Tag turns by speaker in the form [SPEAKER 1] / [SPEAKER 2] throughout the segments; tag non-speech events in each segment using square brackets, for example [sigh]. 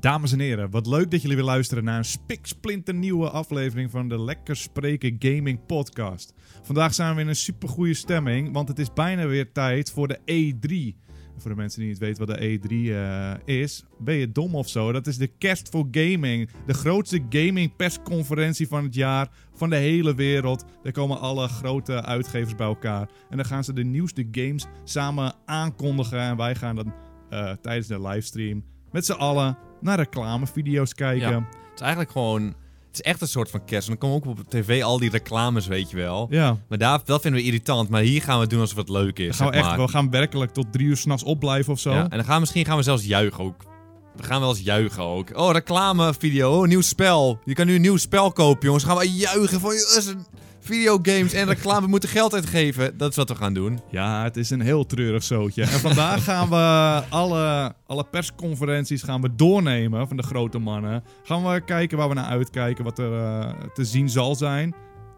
[SPEAKER 1] Dames en heren, wat leuk dat jullie weer luisteren naar een spiksplinternieuwe aflevering van de Lekker Spreken Gaming Podcast. Vandaag zijn we in een supergoeie stemming, want het is bijna weer tijd voor de E3. En Voor de mensen die niet weten wat de E3 eh, is, ben je dom of zo? Dat is de Kerst voor Gaming. De grootste gaming persconferentie van het jaar, van de hele wereld. Daar komen alle grote uitgevers bij elkaar. En dan gaan ze de nieuwste games samen aankondigen. En wij gaan dan eh, tijdens de livestream met z'n allen naar reclamevideo's kijken.
[SPEAKER 2] Ja. Het is eigenlijk gewoon... Het is echt een soort van kerst. En dan komen ook op tv al die reclames, weet je wel.
[SPEAKER 1] ja.
[SPEAKER 2] Maar daar, dat vinden we irritant. Maar hier gaan we doen alsof het leuk is.
[SPEAKER 1] Dan gaan we,
[SPEAKER 2] zeg
[SPEAKER 1] echt,
[SPEAKER 2] maar.
[SPEAKER 1] we gaan werkelijk tot drie uur s'nachts opblijven of zo.
[SPEAKER 2] Ja, en dan gaan, we- misschien gaan we zelfs juichen ook. We gaan wel eens juichen ook. Oh, reclamevideo. Oh, nieuw spel. Je kan nu een nieuw spel kopen, jongens. Dan gaan we juichen van... Yes, videogames en reclame moeten geld uitgeven. Dat is wat we gaan doen.
[SPEAKER 1] Ja, het is een heel treurig zootje. En
[SPEAKER 2] [laughs]
[SPEAKER 1] vandaag gaan we alle, alle persconferenties gaan we doornemen van de grote mannen. Gaan we kijken waar we naar uitkijken, wat er eh, te zien zal zijn.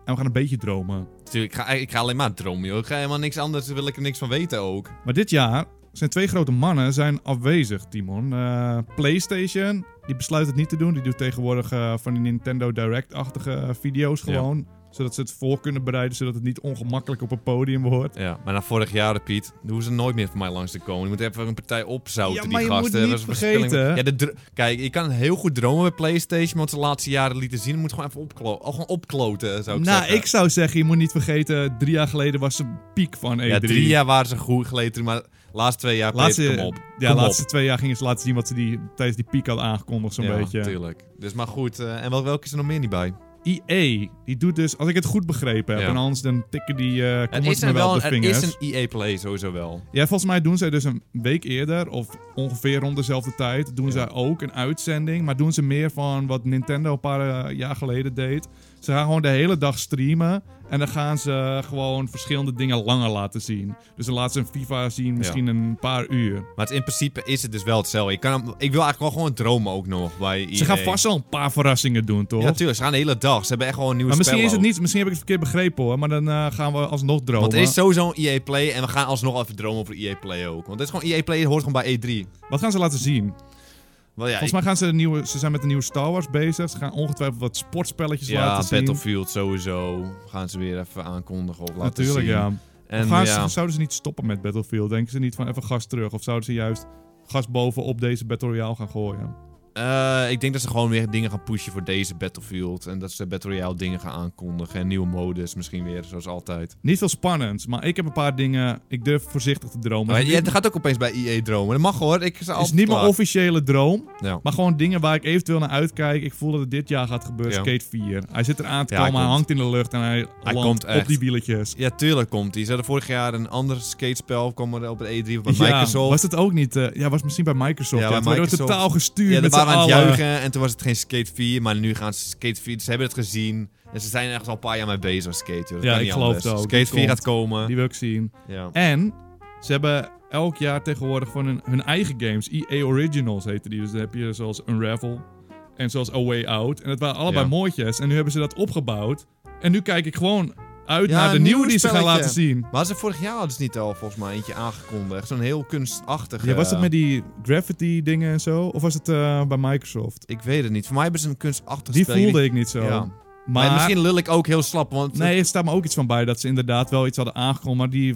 [SPEAKER 1] En we gaan een beetje dromen.
[SPEAKER 2] Natuurlijk, ik ga, ik ga alleen maar dromen, joh. Ik ga helemaal niks anders. Daar wil ik er niks van weten ook.
[SPEAKER 1] Maar dit jaar zijn twee grote mannen zijn afwezig, Timon. Eh, PlayStation, die besluit het niet te doen. Die doet tegenwoordig eh, van die Nintendo Direct-achtige eh, video's
[SPEAKER 2] Ja.
[SPEAKER 1] gewoon. Zodat ze het voor kunnen bereiden, zodat het niet ongemakkelijk op een podium wordt.
[SPEAKER 2] Ja, maar na vorig jaar, Piet, dan hoeven ze nooit meer voor mij langs te komen. Je moet even een partij opzouten,
[SPEAKER 1] Ja,
[SPEAKER 2] die
[SPEAKER 1] maar je moet
[SPEAKER 2] gasten.
[SPEAKER 1] niet
[SPEAKER 2] Dat is een verspilling.
[SPEAKER 1] vergeten.
[SPEAKER 2] Ja, de dr- Kijk, je kan heel goed dromen bij PlayStation, want ze de laatste jaren lieten zien. Je moet gewoon even opklo oh, gewoon opkloten, zou ik
[SPEAKER 1] nou,
[SPEAKER 2] zeggen.
[SPEAKER 1] ik zou zeggen, je moet niet vergeten, drie jaar geleden was de piek van E E3.
[SPEAKER 2] Ja, drie jaar waren ze goed geleden, maar de laatste twee jaar,
[SPEAKER 1] Laatste,
[SPEAKER 2] Piet, kom op.
[SPEAKER 1] Ja,
[SPEAKER 2] Kom
[SPEAKER 1] laatste
[SPEAKER 2] op.
[SPEAKER 1] twee jaar gingen ze laten zien wat ze die, tijdens die piek hadden aangekondigd, zo'n
[SPEAKER 2] ja,
[SPEAKER 1] beetje.
[SPEAKER 2] tuurlijk. Dus maar goed, eh, en wel, welke is er nog meer niet bij?
[SPEAKER 1] EA, die doet dus, als ik het goed begrepen heb,
[SPEAKER 2] Ja.
[SPEAKER 1] en anders dan tikken die eh
[SPEAKER 2] Er
[SPEAKER 1] comments
[SPEAKER 2] is,
[SPEAKER 1] me
[SPEAKER 2] een,
[SPEAKER 1] wel
[SPEAKER 2] wel,
[SPEAKER 1] op de
[SPEAKER 2] er is
[SPEAKER 1] vingers.
[SPEAKER 2] een EA Play sowieso wel.
[SPEAKER 1] Ja, volgens mij doen zij dus een week eerder, of ongeveer rond dezelfde tijd, doen zij ook een uitzending. Maar doen ze meer van wat Nintendo een paar eh, jaar geleden deed. Ze gaan gewoon de hele dag streamen. En dan gaan ze gewoon verschillende dingen langer laten zien. Dus dan laten ze een FIFA zien, misschien een paar uur.
[SPEAKER 2] Maar het- in principe is het dus wel hetzelfde. Ik, kan, hem- ik wil eigenlijk wel gewoon dromen ook nog bij EA.
[SPEAKER 1] Ze gaan vast wel een paar verrassingen doen, toch?
[SPEAKER 2] Ja, tuurlijk. Ze gaan de hele dag. Ze hebben echt gewoon nieuwe
[SPEAKER 1] maar misschien
[SPEAKER 2] spellen
[SPEAKER 1] is het
[SPEAKER 2] ook.
[SPEAKER 1] niet, misschien heb ik het verkeerd begrepen hoor. Maar dan eh, gaan we alsnog dromen.
[SPEAKER 2] Want er is sowieso een EA Play en we gaan alsnog even dromen over EA Play ook. Want het is gewoon EA Play, het hoort gewoon bij E3.
[SPEAKER 1] Wat gaan ze laten zien?
[SPEAKER 2] Wel ja,
[SPEAKER 1] Volgens mij gaan ze, de nieuwe, ze zijn met de nieuwe Star Wars bezig. Ze gaan ongetwijfeld wat sportspelletjes
[SPEAKER 2] ik- ja
[SPEAKER 1] laten zien.
[SPEAKER 2] Battlefield sowieso gaan ze weer even aankondigen of laten
[SPEAKER 1] Natuurlijk,
[SPEAKER 2] zien.
[SPEAKER 1] ja.
[SPEAKER 2] En
[SPEAKER 1] Gaan ze-
[SPEAKER 2] ja,
[SPEAKER 1] zouden ze niet stoppen met Battlefield? Denken ze niet van even gas terug? Of zouden ze juist gas bovenop deze Battle Royale gaan gooien?
[SPEAKER 2] eh, ik denk dat ze gewoon weer dingen gaan pushen voor deze Battlefield. En dat ze Battle Royale dingen gaan aankondigen. En nieuwe modus misschien weer, zoals altijd.
[SPEAKER 1] Niet veel spannend, maar ik heb een paar dingen... Ik durf voorzichtig te dromen.
[SPEAKER 2] Maar
[SPEAKER 1] Het is
[SPEAKER 2] je
[SPEAKER 1] niet-
[SPEAKER 2] gaat ook opeens bij EA dromen. Dat mag hoor. Ik
[SPEAKER 1] het is niet mijn officiële droom,
[SPEAKER 2] Ja.
[SPEAKER 1] maar gewoon dingen waar ik eventueel naar uitkijk. Ik voel dat het dit jaar gaat gebeuren.
[SPEAKER 2] Ja.
[SPEAKER 1] Skate 4. Hij zit eraan te
[SPEAKER 2] Ja, hij
[SPEAKER 1] komen, hij,
[SPEAKER 2] komt.
[SPEAKER 1] hangt in de lucht en hij,
[SPEAKER 2] Hij
[SPEAKER 1] landt
[SPEAKER 2] komt
[SPEAKER 1] op
[SPEAKER 2] echt.
[SPEAKER 1] die wieltjes.
[SPEAKER 2] ja, tuurlijk komt die. Ze hadden vorig jaar een ander skatespel. Kwam er op de E3 van
[SPEAKER 1] Ja,
[SPEAKER 2] Microsoft.
[SPEAKER 1] was dat ook niet... eh, ja, was misschien bij Microsoft. Ja,
[SPEAKER 2] Ja, bij
[SPEAKER 1] toen werden we
[SPEAKER 2] Microsoft.
[SPEAKER 1] totaal gestuurd
[SPEAKER 2] Ja, we
[SPEAKER 1] met z'n
[SPEAKER 2] waren aan het
[SPEAKER 1] allen.
[SPEAKER 2] juichen en toen was het geen Skate 4, maar nu gaan ze Skate 4. Ze hebben het gezien en ze zijn echt al een paar jaar mee bezig met skate. Joh. Dat
[SPEAKER 1] Ja,
[SPEAKER 2] kan
[SPEAKER 1] ik
[SPEAKER 2] niet
[SPEAKER 1] geloof
[SPEAKER 2] anders.
[SPEAKER 1] het ook. Die
[SPEAKER 2] Skate 4 gaat komen.
[SPEAKER 1] Die wil ik zien.
[SPEAKER 2] Ja.
[SPEAKER 1] En ze hebben elk jaar tegenwoordig van hun, hun eigen games. EA Originals heette die. Dus dan heb je zoals Unravel en zoals A Way Out. En dat waren allebei
[SPEAKER 2] Ja.
[SPEAKER 1] mooitjes. En nu hebben ze dat opgebouwd. En nu kijk ik gewoon uit
[SPEAKER 2] Ja,
[SPEAKER 1] naar de
[SPEAKER 2] een
[SPEAKER 1] nieuwe
[SPEAKER 2] nieuw
[SPEAKER 1] die ze gaan
[SPEAKER 2] spelletje.
[SPEAKER 1] laten zien.
[SPEAKER 2] Maar ze vorig jaar hadden ze niet al volgens mij eentje aangekondigd. Zo'n heel kunstachtige...
[SPEAKER 1] Ja, was dat met die graffiti dingen en zo? Of was het eh, bij Microsoft?
[SPEAKER 2] Ik weet het niet. Voor mij hebben ze een kunstachtig
[SPEAKER 1] Die
[SPEAKER 2] spel.
[SPEAKER 1] voelde ik niet zo.
[SPEAKER 2] Ja.
[SPEAKER 1] Maar,
[SPEAKER 2] Maar misschien lul ik ook heel slap, want...
[SPEAKER 1] nee, er staat me ook iets van bij dat ze inderdaad wel iets hadden aangekondigd. Maar die,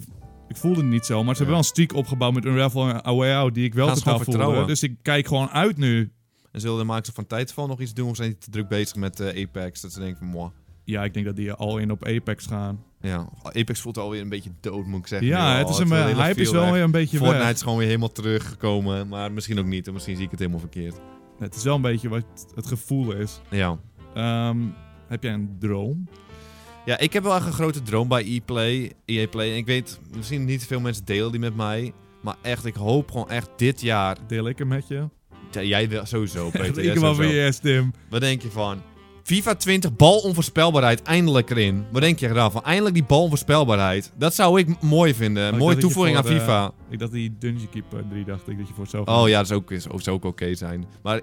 [SPEAKER 1] ik voelde het niet zo. Maar ze hebben wel een streak opgebouwd met Unravel en A Way Out die ik wel
[SPEAKER 2] Gaan ze
[SPEAKER 1] totaal
[SPEAKER 2] gewoon
[SPEAKER 1] voelde.
[SPEAKER 2] vertrouwen.
[SPEAKER 1] Dus ik kijk gewoon uit nu.
[SPEAKER 2] En zullen de makers van Titanfall nog iets doen of zijn die te druk bezig met eh, Apex? Dat ze denken van, moi.
[SPEAKER 1] Ja, ik denk dat die al in op Apex gaan.
[SPEAKER 2] Ja, Apex voelt alweer een beetje dood, moet ik zeggen.
[SPEAKER 1] ja,
[SPEAKER 2] joh.
[SPEAKER 1] het is een,
[SPEAKER 2] wordt
[SPEAKER 1] eh,
[SPEAKER 2] heel erg
[SPEAKER 1] hype is
[SPEAKER 2] veel
[SPEAKER 1] wel
[SPEAKER 2] weg.
[SPEAKER 1] weer een beetje
[SPEAKER 2] Fortnite
[SPEAKER 1] weg.
[SPEAKER 2] is gewoon weer helemaal teruggekomen, maar misschien ook niet. en Misschien zie ik het helemaal verkeerd.
[SPEAKER 1] Het is wel een beetje wat het gevoel is.
[SPEAKER 2] Ja.
[SPEAKER 1] Ehm, heb jij een droom?
[SPEAKER 2] Ja, ik heb wel echt een grote droom bij EA-Play. EA Play. En ik weet, misschien niet veel mensen delen die met mij. Maar echt, ik hoop gewoon echt dit jaar...
[SPEAKER 1] Deel ik hem met je?
[SPEAKER 2] Ja, jij
[SPEAKER 1] [laughs]
[SPEAKER 2] wel, sowieso,
[SPEAKER 1] Ik
[SPEAKER 2] Peter. jij
[SPEAKER 1] hem wel
[SPEAKER 2] sowieso.
[SPEAKER 1] weer eerst, Tim.
[SPEAKER 2] Wat denk je van? FIFA 20, bal onvoorspelbaarheid, eindelijk erin. Wat denk je daarvan? Eindelijk die bal onvoorspelbaarheid. Dat zou ik m- mooi vinden.
[SPEAKER 1] Oh, ik
[SPEAKER 2] Mooie
[SPEAKER 1] dacht dat je
[SPEAKER 2] toevoeging aan
[SPEAKER 1] voor eh, de-
[SPEAKER 2] FIFA.
[SPEAKER 1] Ik dacht die Dungeon Keeper 3 dacht ik dat je voor zo
[SPEAKER 2] Oh ja, dat zou ook, is- zou ook oké zijn. Maar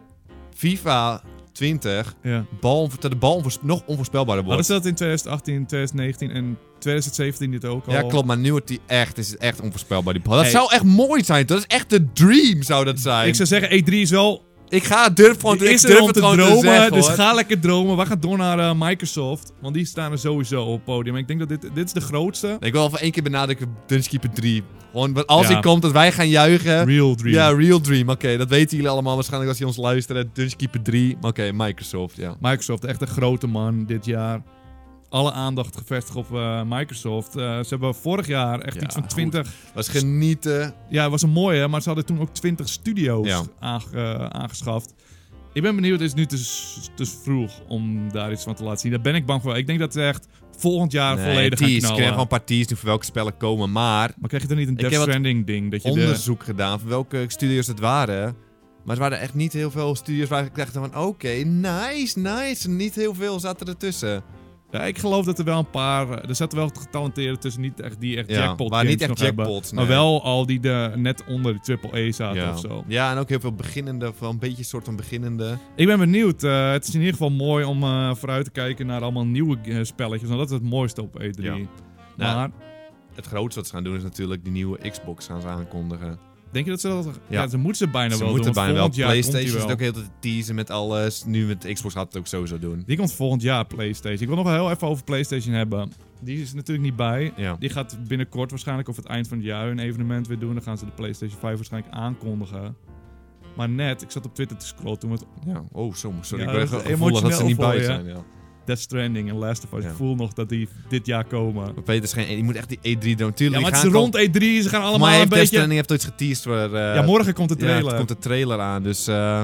[SPEAKER 2] FIFA 20,
[SPEAKER 1] ja.
[SPEAKER 2] bal, onvo- dat de bal onvoors- nog onvoorspelbaarder wordt.
[SPEAKER 1] Hadden ze dat in 2018, 2019 en 2017 dit ook al?
[SPEAKER 2] Ja, klopt, maar nu wordt die echt, is het echt onvoorspelbaar. Die bal. Dat
[SPEAKER 1] Hey.
[SPEAKER 2] zou echt mooi zijn, toch? dat is echt de dream, zou dat zijn.
[SPEAKER 1] Ik zou zeggen, E3 is wel
[SPEAKER 2] Ik ga durf gewoon
[SPEAKER 1] Je
[SPEAKER 2] Oh, ik
[SPEAKER 1] is
[SPEAKER 2] durf
[SPEAKER 1] er om
[SPEAKER 2] het
[SPEAKER 1] te
[SPEAKER 2] gewoon
[SPEAKER 1] dromen,
[SPEAKER 2] zeggen,
[SPEAKER 1] dus
[SPEAKER 2] hoor.
[SPEAKER 1] ga lekker dromen. We gaan door naar eh, Microsoft, want die staan er sowieso op het podium. Ik denk dat dit, dit is de grootste.
[SPEAKER 2] Ik wil even één keer benadrukken, Dungeonkeeper 3. Gewoon, want als
[SPEAKER 1] Ja.
[SPEAKER 2] hij komt, dat wij gaan juichen.
[SPEAKER 1] Real Dream.
[SPEAKER 2] Ja, Real Dream. Oké, dat weten jullie allemaal waarschijnlijk als je ons luisteren. Dungeonkeeper 3. Maar Oké, Microsoft, ja.
[SPEAKER 1] Microsoft, echt een grote man dit jaar. Alle aandacht gevestigd op eh, Microsoft. Eh, ze hebben vorig jaar echt
[SPEAKER 2] Ja,
[SPEAKER 1] iets van
[SPEAKER 2] goed.
[SPEAKER 1] 20.
[SPEAKER 2] Dat is genieten.
[SPEAKER 1] Ja, het was een mooie, maar ze hadden toen ook 20 studio's
[SPEAKER 2] Ja.
[SPEAKER 1] aange- eh, aangeschaft. Ik ben benieuwd, het is nu te, s- te vroeg om daar iets van te laten zien. Daar ben ik bang voor. Ik denk dat ze echt volgend jaar volledig gaan
[SPEAKER 2] teas. Ik
[SPEAKER 1] knallen.
[SPEAKER 2] kreeg gewoon een paar teas nu voor welke spellen komen. Maar
[SPEAKER 1] Maar krijg je dan niet een
[SPEAKER 2] Ik
[SPEAKER 1] Death
[SPEAKER 2] heb wat
[SPEAKER 1] Stranding ding? Dat je de-
[SPEAKER 2] onderzoek gedaan van welke studios het waren. Maar er waren echt niet heel veel studios waar ik dacht van... Oké, nice, nice. Niet heel veel zaten ertussen.
[SPEAKER 1] Ja, ik geloof dat er wel een paar. eh, Er zaten wel getalenteerden tussen, niet echt die echt
[SPEAKER 2] Ja,
[SPEAKER 1] jackpot
[SPEAKER 2] maar niet
[SPEAKER 1] games
[SPEAKER 2] echt
[SPEAKER 1] nog hebben.
[SPEAKER 2] jackpots,
[SPEAKER 1] Maar
[SPEAKER 2] nee.
[SPEAKER 1] wel al die de, net onder de triple E zaten
[SPEAKER 2] ja.
[SPEAKER 1] of zo.
[SPEAKER 2] ja, en ook heel veel beginnende. Van een beetje soort van beginnende.
[SPEAKER 1] Ik ben benieuwd. eh, het is in ieder geval mooi om eh, vooruit te kijken naar allemaal nieuwe eh, spelletjes. Want dat is het mooiste op E3.
[SPEAKER 2] Ja. Nou,
[SPEAKER 1] Maar
[SPEAKER 2] Het grootste wat ze gaan doen is natuurlijk die nieuwe Xbox gaan ze aankondigen.
[SPEAKER 1] denk je dat ze dat... Ja,
[SPEAKER 2] Ja.
[SPEAKER 1] ze moeten ze bijna
[SPEAKER 2] ze
[SPEAKER 1] wel
[SPEAKER 2] moeten
[SPEAKER 1] doen. want
[SPEAKER 2] bijna wel.
[SPEAKER 1] volgend jaar komt die
[SPEAKER 2] PlayStation zit
[SPEAKER 1] wel.
[SPEAKER 2] ook heel de tijd te teasen met alles. Nu met Xbox gaat het ook sowieso doen.
[SPEAKER 1] Die komt volgend jaar, PlayStation. Ik wil nog wel heel even over PlayStation hebben. Die is er natuurlijk niet bij.
[SPEAKER 2] Ja.
[SPEAKER 1] Die gaat binnenkort waarschijnlijk of het eind van het jaar een evenement weer doen. Dan gaan ze de PlayStation 5 waarschijnlijk aankondigen. Maar net, ik zat op Twitter te scrollen toen het
[SPEAKER 2] ja. Oh, soms. Sorry,
[SPEAKER 1] Ja,
[SPEAKER 2] ik ben
[SPEAKER 1] dat is
[SPEAKER 2] ge- gevoelig dat ze
[SPEAKER 1] emotioneel
[SPEAKER 2] niet bij
[SPEAKER 1] voor je.
[SPEAKER 2] zijn. Ja.
[SPEAKER 1] Death Stranding en Last of Us.
[SPEAKER 2] Ja.
[SPEAKER 1] Ik voel nog dat die dit jaar komen.
[SPEAKER 2] Maar Peter is geen... Je moet echt die E3 doen. Tuurlijk,
[SPEAKER 1] Ja, maar
[SPEAKER 2] die
[SPEAKER 1] het is
[SPEAKER 2] gaan
[SPEAKER 1] rond E3. Ze gaan
[SPEAKER 2] komen. Maar
[SPEAKER 1] allemaal
[SPEAKER 2] hij
[SPEAKER 1] een
[SPEAKER 2] heeft
[SPEAKER 1] beetje...
[SPEAKER 2] Destiny heeft iets geteased voor... eh,
[SPEAKER 1] Ja, morgen komt de
[SPEAKER 2] ja, het
[SPEAKER 1] trailer.
[SPEAKER 2] komt de trailer aan. Dus eh,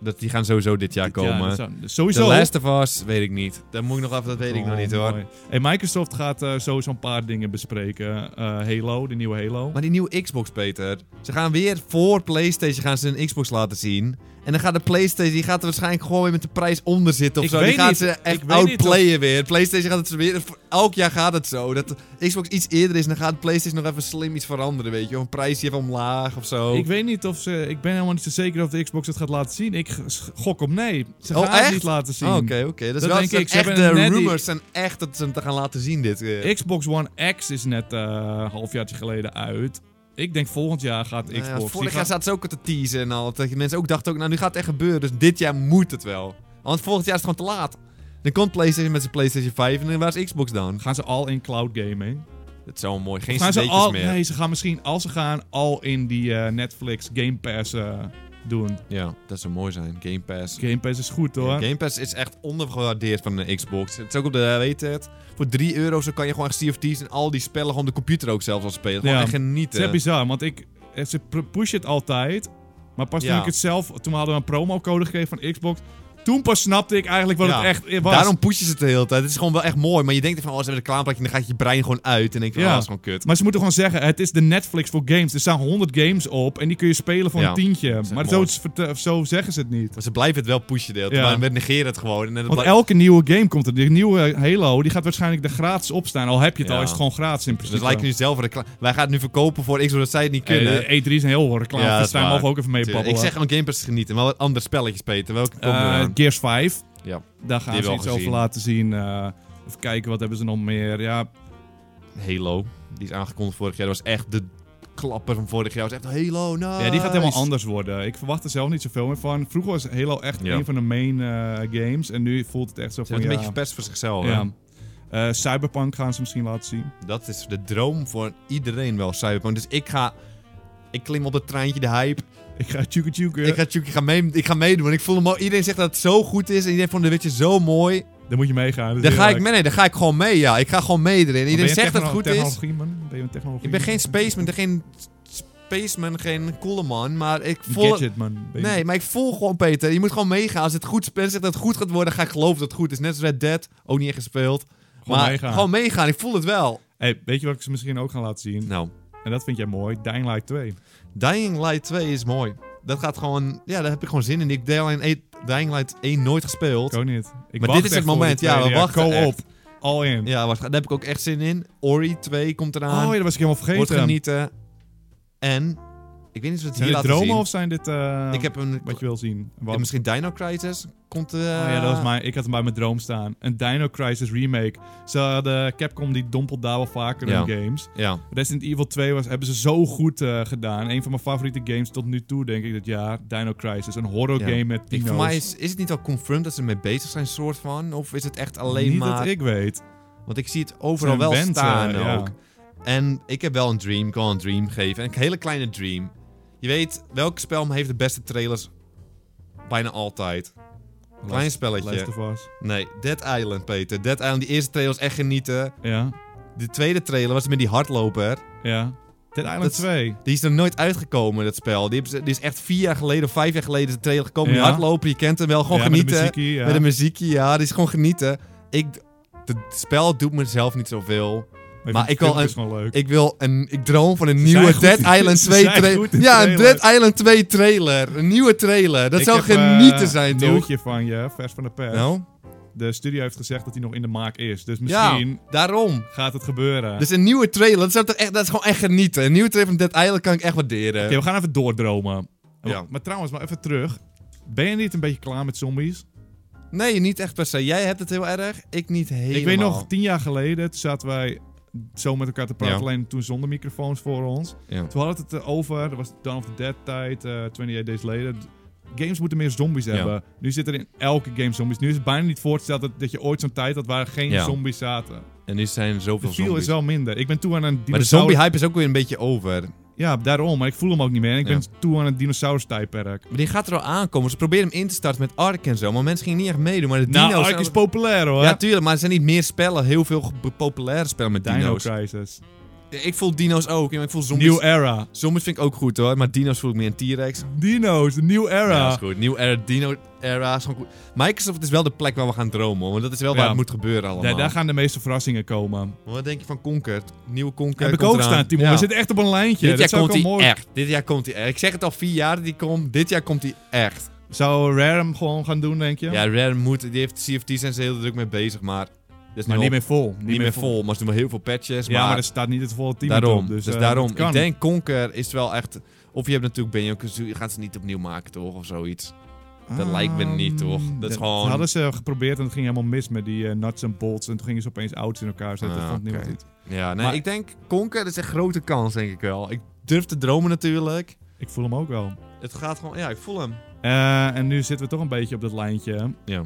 [SPEAKER 2] dat, die gaan sowieso dit jaar
[SPEAKER 1] Ja,
[SPEAKER 2] komen.
[SPEAKER 1] dat
[SPEAKER 2] De
[SPEAKER 1] zou- Dus sowieso.
[SPEAKER 2] Last of Us, weet ik niet. Dat moet ik nog af, dat weet ik nog
[SPEAKER 1] Oh,
[SPEAKER 2] niet hoor.
[SPEAKER 1] mooi. Hey, Microsoft gaat eh, sowieso een paar dingen bespreken. Eh, Halo, de nieuwe Halo.
[SPEAKER 2] Maar die nieuwe Xbox, Peter. Ze gaan weer voor PlayStation gaan ze een Xbox laten zien. En dan gaat de PlayStation die gaat er waarschijnlijk gewoon weer met de prijs onder zitten of
[SPEAKER 1] Ik
[SPEAKER 2] zo.
[SPEAKER 1] weet
[SPEAKER 2] die gaat
[SPEAKER 1] niet.
[SPEAKER 2] ze
[SPEAKER 1] Ik
[SPEAKER 2] echt
[SPEAKER 1] weet niet of-
[SPEAKER 2] outplayen weer. PlayStation gaat het weer. voor- Elk jaar gaat het zo. Dat de Xbox iets eerder is, dan gaat PlayStation nog even slim iets veranderen, weet je. Of een prijsje even omlaag of zo.
[SPEAKER 1] Ik weet niet of ze... Ik ben helemaal niet zo zeker of de Xbox het gaat laten zien. Ik g- gok op nee. Ze
[SPEAKER 2] Oh,
[SPEAKER 1] gaan het
[SPEAKER 2] echt?
[SPEAKER 1] niet laten zien.
[SPEAKER 2] Oh, Oké, oké. Dus
[SPEAKER 1] Dat
[SPEAKER 2] wel,
[SPEAKER 1] denk
[SPEAKER 2] zijn
[SPEAKER 1] ik. Ze
[SPEAKER 2] echt,
[SPEAKER 1] hebben
[SPEAKER 2] de
[SPEAKER 1] net die-
[SPEAKER 2] rumors zijn echt dat ze hem te gaan laten zien dit eh. keer.
[SPEAKER 1] Xbox One X is net eh, een halfjaartje geleden uit. Ik denk volgend jaar gaat
[SPEAKER 2] Nou ja,
[SPEAKER 1] Xbox. Die
[SPEAKER 2] vorig
[SPEAKER 1] gaat-
[SPEAKER 2] jaar zaten ze ook al te teasen en al. Dat je mensen ook dachten, ook, nou nu gaat het echt gebeuren. Dus dit jaar moet het wel. Want volgend jaar is het gewoon te laat. Dan komt PlayStation met zijn PlayStation 5 en dan waar is Xbox dan?
[SPEAKER 1] Gaan ze al in cloud gaming?
[SPEAKER 2] Dat is zo mooi. Geen
[SPEAKER 1] Gaan ze
[SPEAKER 2] cd'tjes
[SPEAKER 1] al,
[SPEAKER 2] meer.
[SPEAKER 1] Nee, ze gaan misschien als ze gaan al in die eh, Netflix Game Pass eh, doen.
[SPEAKER 2] Ja, dat zou mooi zijn. Game Pass.
[SPEAKER 1] Game Pass is goed hoor.
[SPEAKER 2] Ja, Game Pass is echt ondergewaardeerd van de Xbox. Het is ook op de, weet het, voor 3 euro zo kan je gewoon echt CFT's en al die spellen gewoon op de computer ook zelfs al spelen. Gewoon
[SPEAKER 1] Ja.
[SPEAKER 2] echt
[SPEAKER 1] het is echt
[SPEAKER 2] genieten.
[SPEAKER 1] bizar, want ik, eh, ze pr- pushen het altijd. Maar pas toen
[SPEAKER 2] Ja.
[SPEAKER 1] ik het zelf, toen hadden we een promocode gegeven van Xbox. Toen pas snapte ik eigenlijk wat
[SPEAKER 2] Ja,
[SPEAKER 1] het echt eh, was.
[SPEAKER 2] Daarom pushen ze het de hele tijd. Het is gewoon wel echt mooi. Maar je denkt van, oh, ze hebben een reclameplaatje en dan gaat je brein gewoon uit. En denk je
[SPEAKER 1] Ja.
[SPEAKER 2] van, oh, dat is gewoon kut.
[SPEAKER 1] Maar ze moeten gewoon zeggen, het is de Netflix voor games. Er staan 100 games op en die kun je spelen voor
[SPEAKER 2] Ja,
[SPEAKER 1] een tientje.
[SPEAKER 2] echt
[SPEAKER 1] Maar
[SPEAKER 2] mooi.
[SPEAKER 1] zo, verte- zo zeggen ze het niet.
[SPEAKER 2] Maar ze blijven het wel pushen deelt.
[SPEAKER 1] Ja.
[SPEAKER 2] Maar we negeren het gewoon. En het
[SPEAKER 1] Want
[SPEAKER 2] blijft-
[SPEAKER 1] elke nieuwe game komt er. Die nieuwe Halo, die gaat waarschijnlijk er gratis op staan. Al heb je het
[SPEAKER 2] Ja.
[SPEAKER 1] al, is het gewoon gratis in
[SPEAKER 2] Dus
[SPEAKER 1] principe.
[SPEAKER 2] het lijkt nu zelf reclame. Wij gaan het nu verkopen voor Xbox dat zij het niet kunnen.
[SPEAKER 1] Eh, de E3 is een heel reclame,
[SPEAKER 2] Ja, dat
[SPEAKER 1] dus
[SPEAKER 2] is
[SPEAKER 1] daar
[SPEAKER 2] waar.
[SPEAKER 1] mogen we ook even mee
[SPEAKER 2] Tuurlijk.
[SPEAKER 1] babbelen.
[SPEAKER 2] ik zeg gewoon Game Pass genieten. Maar wat andere spelletjes, Peter. Welke komen er
[SPEAKER 1] Eh,
[SPEAKER 2] aan?
[SPEAKER 1] Gears 5,
[SPEAKER 2] Ja,
[SPEAKER 1] daar
[SPEAKER 2] Die
[SPEAKER 1] gaan ze
[SPEAKER 2] wel
[SPEAKER 1] iets
[SPEAKER 2] gezien.
[SPEAKER 1] over laten zien. Eh, even kijken, wat hebben ze nog meer? Ja,
[SPEAKER 2] Halo. Die is aangekondigd vorig jaar. Dat was echt de klapper van vorig jaar. Dat was echt Halo, nice.
[SPEAKER 1] ja, die gaat
[SPEAKER 2] Ah,
[SPEAKER 1] helemaal anders worden. Ik verwacht er zelf niet zoveel meer van. Vroeger was Halo echt
[SPEAKER 2] Ja.
[SPEAKER 1] een van de main eh, games. En nu voelt het echt zo
[SPEAKER 2] Ze
[SPEAKER 1] van,
[SPEAKER 2] hebben het
[SPEAKER 1] ja...
[SPEAKER 2] een beetje verpest voor zichzelf. hè.
[SPEAKER 1] ja. Eh, Cyberpunk gaan ze misschien laten zien.
[SPEAKER 2] Dat is de droom voor iedereen wel, Cyberpunk. Dus ik ga... Ik klim op het treintje, de hype.
[SPEAKER 1] Ik ga tjoeke tjoeke.
[SPEAKER 2] Ik, ga, ik, ga mee, ik ga meedoen. Want ik voel hem al, iedereen zegt dat het zo goed is. En iedereen vond het witje zo mooi.
[SPEAKER 1] Daar moet je meegaan. dat is
[SPEAKER 2] Daar ga
[SPEAKER 1] heel
[SPEAKER 2] ik,
[SPEAKER 1] leuk.
[SPEAKER 2] mee, nee, daar ga ik gewoon mee, ja. Ik ga gewoon mee erin.
[SPEAKER 1] Maar ben
[SPEAKER 2] Iedereen
[SPEAKER 1] je
[SPEAKER 2] zegt dat het
[SPEAKER 1] techno-
[SPEAKER 2] goed is.
[SPEAKER 1] technologie, man? Ben je een technologie?
[SPEAKER 2] Ik ben geen
[SPEAKER 1] man?
[SPEAKER 2] spaceman, geen spaceman, geen coole man, maar ik
[SPEAKER 1] Een
[SPEAKER 2] voel...
[SPEAKER 1] Gadget, man. Ben je-
[SPEAKER 2] Nee, maar ik voel gewoon, Peter. Je moet gewoon meegaan. Als het goed is, zegt dat het goed gaat worden, ga ik geloven dat het goed is. Net als Red Dead, ook niet echt gespeeld.
[SPEAKER 1] Gewoon
[SPEAKER 2] maar
[SPEAKER 1] meegaan.
[SPEAKER 2] gewoon meegaan, ik voel het wel.
[SPEAKER 1] Hey, weet je wat ik ze misschien ook gaan laten zien?
[SPEAKER 2] Nou,
[SPEAKER 1] En dat vind jij mooi. Dying Light 2.
[SPEAKER 2] Dying Light 2 is mooi. Dat gaat gewoon... Ja, daar heb ik gewoon zin in. Ik heb Dying Light 1 Dying Light 1 nooit gespeeld.
[SPEAKER 1] Ik ook niet. Ik
[SPEAKER 2] Maar
[SPEAKER 1] wacht
[SPEAKER 2] dit is
[SPEAKER 1] echt
[SPEAKER 2] het moment.
[SPEAKER 1] voor die
[SPEAKER 2] Ja, we
[SPEAKER 1] tweede,
[SPEAKER 2] wachten
[SPEAKER 1] Co-op.
[SPEAKER 2] echt.
[SPEAKER 1] All in.
[SPEAKER 2] Ja, wacht, daar heb ik ook echt zin in. Ori 2 komt eraan.
[SPEAKER 1] Oh ja, dat was ik helemaal
[SPEAKER 2] Wordt
[SPEAKER 1] vergeten.
[SPEAKER 2] genieten. En Ik weet niet of het
[SPEAKER 1] Zijn
[SPEAKER 2] hier
[SPEAKER 1] dit
[SPEAKER 2] laten
[SPEAKER 1] dromen
[SPEAKER 2] zien.
[SPEAKER 1] of zijn dit eh,
[SPEAKER 2] Ik heb een...
[SPEAKER 1] wat je wil zien? Wat?
[SPEAKER 2] eh, misschien Dino Crisis? Komt... eh,
[SPEAKER 1] Oh ja, dat was mijn, ik had hem bij mijn droom staan. Een Dino Crisis remake. Ze hadden, Capcom die dompelt daar wel vaker
[SPEAKER 2] Ja.
[SPEAKER 1] in games.
[SPEAKER 2] Ja.
[SPEAKER 1] Resident Evil 2 was, hebben ze zo goed eh, gedaan. Een van mijn favoriete games tot nu toe, denk ik, dit jaar. Dino Crisis. Een horror
[SPEAKER 2] Ja.
[SPEAKER 1] game met
[SPEAKER 2] Ik,
[SPEAKER 1] dino's.
[SPEAKER 2] voor mij is, is het niet al confirmed dat ze ermee bezig zijn, soort van? Of is het echt alleen
[SPEAKER 1] Niet
[SPEAKER 2] maar...
[SPEAKER 1] dat ik weet.
[SPEAKER 2] Want ik zie het overal
[SPEAKER 1] Zijn
[SPEAKER 2] wel
[SPEAKER 1] wens,
[SPEAKER 2] staan
[SPEAKER 1] eh, ja.
[SPEAKER 2] ook. En ik heb wel een dream, ik kan een dream geven. Een hele kleine dream. Je weet, welk spel heeft de beste trailers? Bijna altijd. Klein
[SPEAKER 1] Last
[SPEAKER 2] spelletje.
[SPEAKER 1] of Us.
[SPEAKER 2] Nee, Dead Island, Peter. Dead Island, die eerste trailer was echt genieten.
[SPEAKER 1] Ja,
[SPEAKER 2] De tweede trailer was met die hardloper.
[SPEAKER 1] ja. Dead Island
[SPEAKER 2] Dat is-
[SPEAKER 1] 2.
[SPEAKER 2] Die is er nooit uitgekomen, dat spel. Die, hebben ze- die is echt vier jaar geleden of vijf jaar geleden is de trailer gekomen. Die
[SPEAKER 1] Ja.
[SPEAKER 2] hardloper, je kent hem wel. Gewoon
[SPEAKER 1] ja,
[SPEAKER 2] genieten.
[SPEAKER 1] Met de muziek,
[SPEAKER 2] Met een muziekje, ja. Die is gewoon genieten. Ik, het spel doet mezelf niet zoveel. maar ik wil
[SPEAKER 1] Het is
[SPEAKER 2] een-
[SPEAKER 1] gewoon leuk.
[SPEAKER 2] Ik wil een... Ik droom van een
[SPEAKER 1] Ze
[SPEAKER 2] nieuwe
[SPEAKER 1] zijn goed
[SPEAKER 2] Dead
[SPEAKER 1] in- [laughs]
[SPEAKER 2] Island
[SPEAKER 1] ze
[SPEAKER 2] 2
[SPEAKER 1] zijn
[SPEAKER 2] trailer.
[SPEAKER 1] goed in
[SPEAKER 2] Ja, een
[SPEAKER 1] trailers.
[SPEAKER 2] Dead Island 2 trailer. Een nieuwe trailer. Dat
[SPEAKER 1] Ik
[SPEAKER 2] zou
[SPEAKER 1] heb, eh,
[SPEAKER 2] genieten zijn,
[SPEAKER 1] Een
[SPEAKER 2] toch?
[SPEAKER 1] nieuwtje van je, vers van de pers.
[SPEAKER 2] Nou,
[SPEAKER 1] De studio heeft gezegd dat hij nog in de maak is. Dus
[SPEAKER 2] ja,
[SPEAKER 1] misschien
[SPEAKER 2] daarom.
[SPEAKER 1] gaat het gebeuren.
[SPEAKER 2] Dus een nieuwe trailer, dat, zou toch echt, dat is gewoon echt genieten. Een nieuwe trailer van Dead Island kan ik echt waarderen.
[SPEAKER 1] Oké, we gaan even doordromen.
[SPEAKER 2] Ja.
[SPEAKER 1] Maar trouwens, maar even terug. Ben je niet een beetje klaar met zombies?
[SPEAKER 2] Nee, niet echt per se. Jij hebt het heel erg, ik niet helemaal.
[SPEAKER 1] Ik weet nog, tien jaar geleden toen zaten wij zo met elkaar te praten,
[SPEAKER 2] Ja.
[SPEAKER 1] alleen toen zonder microfoons voor ons.
[SPEAKER 2] Ja.
[SPEAKER 1] Toen hadden we het eh, over, dat was Dawn of the Dead tijd, eh 28 Days Later. D- Games moeten meer zombies
[SPEAKER 2] Ja.
[SPEAKER 1] hebben. Nu zitten er in elke game zombies. Nu is het bijna niet voor te stellen dat, dat je ooit zo'n tijd had waar geen
[SPEAKER 2] Ja.
[SPEAKER 1] zombies zaten.
[SPEAKER 2] En nu zijn er
[SPEAKER 1] De
[SPEAKER 2] zoveel
[SPEAKER 1] feel is
[SPEAKER 2] zombies.
[SPEAKER 1] wel minder. Ik ben toe aan een
[SPEAKER 2] Maar de
[SPEAKER 1] dinosaurus...
[SPEAKER 2] zombie-hype is ook weer een beetje over.
[SPEAKER 1] Ja, daarom. Maar ik voel hem ook niet meer. En ik
[SPEAKER 2] Ja.
[SPEAKER 1] ben toe aan een dinosaurus-tijdperk.
[SPEAKER 2] Maar die gaat er al aankomen. Ze proberen hem in te starten met Ark en zo. Maar mensen gingen niet echt meedoen. Maar de
[SPEAKER 1] Nou,
[SPEAKER 2] dino's...
[SPEAKER 1] Ark
[SPEAKER 2] zijn-
[SPEAKER 1] is populair hoor.
[SPEAKER 2] Ja, tuurlijk. Maar er zijn niet meer spellen. Heel veel ge- populaire spellen met
[SPEAKER 1] Dino
[SPEAKER 2] dino's.
[SPEAKER 1] Crisis.
[SPEAKER 2] Ik voel dino's ook. Ja, Ik voel zombies.
[SPEAKER 1] New Era.
[SPEAKER 2] Zombies vind ik ook goed hoor. Maar dino's voel ik meer een T-Rex.
[SPEAKER 1] Dino's, de New Era.
[SPEAKER 2] Ja, dat is goed. New Era, Dino Era. Is gewoon goed. Microsoft is wel de plek waar we gaan dromen. hoor. Want dat is wel waar
[SPEAKER 1] Ja.
[SPEAKER 2] het moet gebeuren allemaal.
[SPEAKER 1] Ja, daar gaan de meeste verrassingen komen.
[SPEAKER 2] Wat denk je van Conquert? Nieuwe Conquert
[SPEAKER 1] Heb ik
[SPEAKER 2] komt
[SPEAKER 1] ook
[SPEAKER 2] eraan.
[SPEAKER 1] staan, Timon.
[SPEAKER 2] Ja.
[SPEAKER 1] We zitten echt op een lijntje. dat
[SPEAKER 2] Dit jaar
[SPEAKER 1] zou
[SPEAKER 2] komt
[SPEAKER 1] ook wel
[SPEAKER 2] hij
[SPEAKER 1] mooi.
[SPEAKER 2] echt. Dit jaar komt hij echt. Ik zeg het al vier jaar dat hij komt. Dit jaar komt hij echt.
[SPEAKER 1] Zou Rare hem gewoon gaan doen, denk je?
[SPEAKER 2] Ja, Rare moet, die heeft CFT zijn ze heel druk mee bezig, maar dat is
[SPEAKER 1] maar
[SPEAKER 2] nu
[SPEAKER 1] niet
[SPEAKER 2] al-
[SPEAKER 1] meer vol. Niet,
[SPEAKER 2] niet meer vol. Maar ze doen wel heel veel patches,
[SPEAKER 1] Ja, maar
[SPEAKER 2] maar,
[SPEAKER 1] er staat niet het volle team
[SPEAKER 2] daarom.
[SPEAKER 1] op.
[SPEAKER 2] Dus,
[SPEAKER 1] Dus, eh,
[SPEAKER 2] daarom.
[SPEAKER 1] dat kan.
[SPEAKER 2] Ik denk Conker is wel echt, of je hebt natuurlijk Benjo Kazooie, je gaat ze niet opnieuw maken toch, of zoiets. dat
[SPEAKER 1] Ah,
[SPEAKER 2] lijkt me niet, toch? Dat is gewoon-
[SPEAKER 1] hadden ze geprobeerd en het ging helemaal mis met die eh, nuts en bolts. En toen gingen ze opeens ouds in elkaar zetten.
[SPEAKER 2] Ah,
[SPEAKER 1] dat vond niemand
[SPEAKER 2] oké.
[SPEAKER 1] goed.
[SPEAKER 2] Ja, nee,
[SPEAKER 1] Maar-
[SPEAKER 2] ik denk Conker is een grote kans denk ik wel. Ik durf te dromen natuurlijk.
[SPEAKER 1] Ik voel hem ook wel.
[SPEAKER 2] Het gaat gewoon, ja, ik voel hem.
[SPEAKER 1] Eh, en nu zitten we toch een beetje op dat lijntje
[SPEAKER 2] Ja.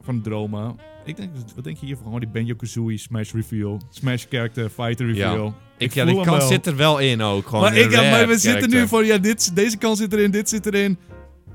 [SPEAKER 1] van dromen. Ik denk, wat denk je hiervan? Gewoon die Banjo-Kazooie Smash reveal. Smash character, fighter
[SPEAKER 2] Ja.
[SPEAKER 1] reveal.
[SPEAKER 2] Ik,
[SPEAKER 1] Ik
[SPEAKER 2] ja,
[SPEAKER 1] voel
[SPEAKER 2] die
[SPEAKER 1] hem
[SPEAKER 2] kans
[SPEAKER 1] wel.
[SPEAKER 2] zit er wel in ook. Gewoon
[SPEAKER 1] maar
[SPEAKER 2] in
[SPEAKER 1] ik, ja,
[SPEAKER 2] Rare
[SPEAKER 1] maar we zitten nu
[SPEAKER 2] character.
[SPEAKER 1] van, ja, dit, deze kant zit erin, dit zit erin.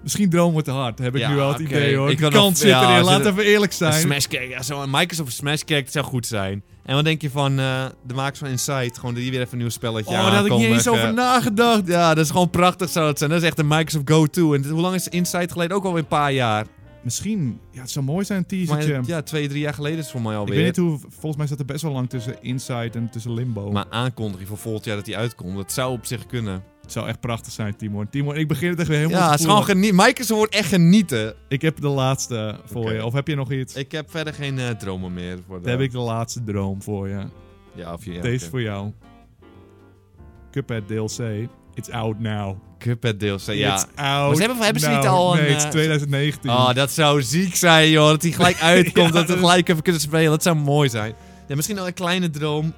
[SPEAKER 1] Misschien droom wordt te hard, heb ik
[SPEAKER 2] Ja,
[SPEAKER 1] nu wel het
[SPEAKER 2] oké.
[SPEAKER 1] idee hoor.
[SPEAKER 2] Ik
[SPEAKER 1] Die
[SPEAKER 2] wil nog-
[SPEAKER 1] kant zit
[SPEAKER 2] ja,
[SPEAKER 1] erin,
[SPEAKER 2] zit
[SPEAKER 1] laat
[SPEAKER 2] er-
[SPEAKER 1] even eerlijk zijn.
[SPEAKER 2] Een Smash Character, ja, zo'n Microsoft Smash Character zou goed zijn. En wat denk je van eh, de makers van Inside? Gewoon die weer even een nieuw spelletje
[SPEAKER 1] oh, daar had ik niet eens
[SPEAKER 2] aankondigen.
[SPEAKER 1] over nagedacht.
[SPEAKER 2] Ja, dat is gewoon prachtig zou dat zijn. Dat is echt een Microsoft go-to. En dit- hoe lang is Inside geleden? Ook alweer een paar jaar.
[SPEAKER 1] Misschien, ja, het zou mooi zijn, een
[SPEAKER 2] Maar,
[SPEAKER 1] teasertje.
[SPEAKER 2] ja, twee, drie jaar geleden is het voor mij
[SPEAKER 1] ik
[SPEAKER 2] alweer.
[SPEAKER 1] weet niet hoe, volgens mij staat er best wel lang tussen Inside en tussen Limbo.
[SPEAKER 2] Maar aankondiging voor volgend jaar dat die uitkomt. Dat zou op zich kunnen.
[SPEAKER 1] het zou echt prachtig zijn, Timon. Timon, ik begin het echt weer helemaal
[SPEAKER 2] ja,
[SPEAKER 1] te
[SPEAKER 2] het is gewoon
[SPEAKER 1] voelen.
[SPEAKER 2] genieten. Microsoft wordt echt genieten.
[SPEAKER 1] Ik heb de laatste voor
[SPEAKER 2] Oké.
[SPEAKER 1] je, of heb je nog iets?
[SPEAKER 2] Ik heb verder geen eh, dromen meer. Voor de...
[SPEAKER 1] Dan heb ik de laatste droom voor je.
[SPEAKER 2] Ja, of je... ja,
[SPEAKER 1] Deze is
[SPEAKER 2] oké.
[SPEAKER 1] voor jou. Cuphead DLC, it's out now.
[SPEAKER 2] Cuphead DLC, ja.
[SPEAKER 1] It's out
[SPEAKER 2] Maar ze hebben- hebben ze
[SPEAKER 1] now.
[SPEAKER 2] niet al een,
[SPEAKER 1] Nee, het is
[SPEAKER 2] eh,
[SPEAKER 1] 2019.
[SPEAKER 2] Oh, dat zou ziek zijn, joh. Dat hij gelijk uitkomt.
[SPEAKER 1] [laughs] Ja,
[SPEAKER 2] dat we
[SPEAKER 1] dat-
[SPEAKER 2] gelijk even kunnen spelen. Dat zou mooi zijn. Ja, misschien al een kleine droom.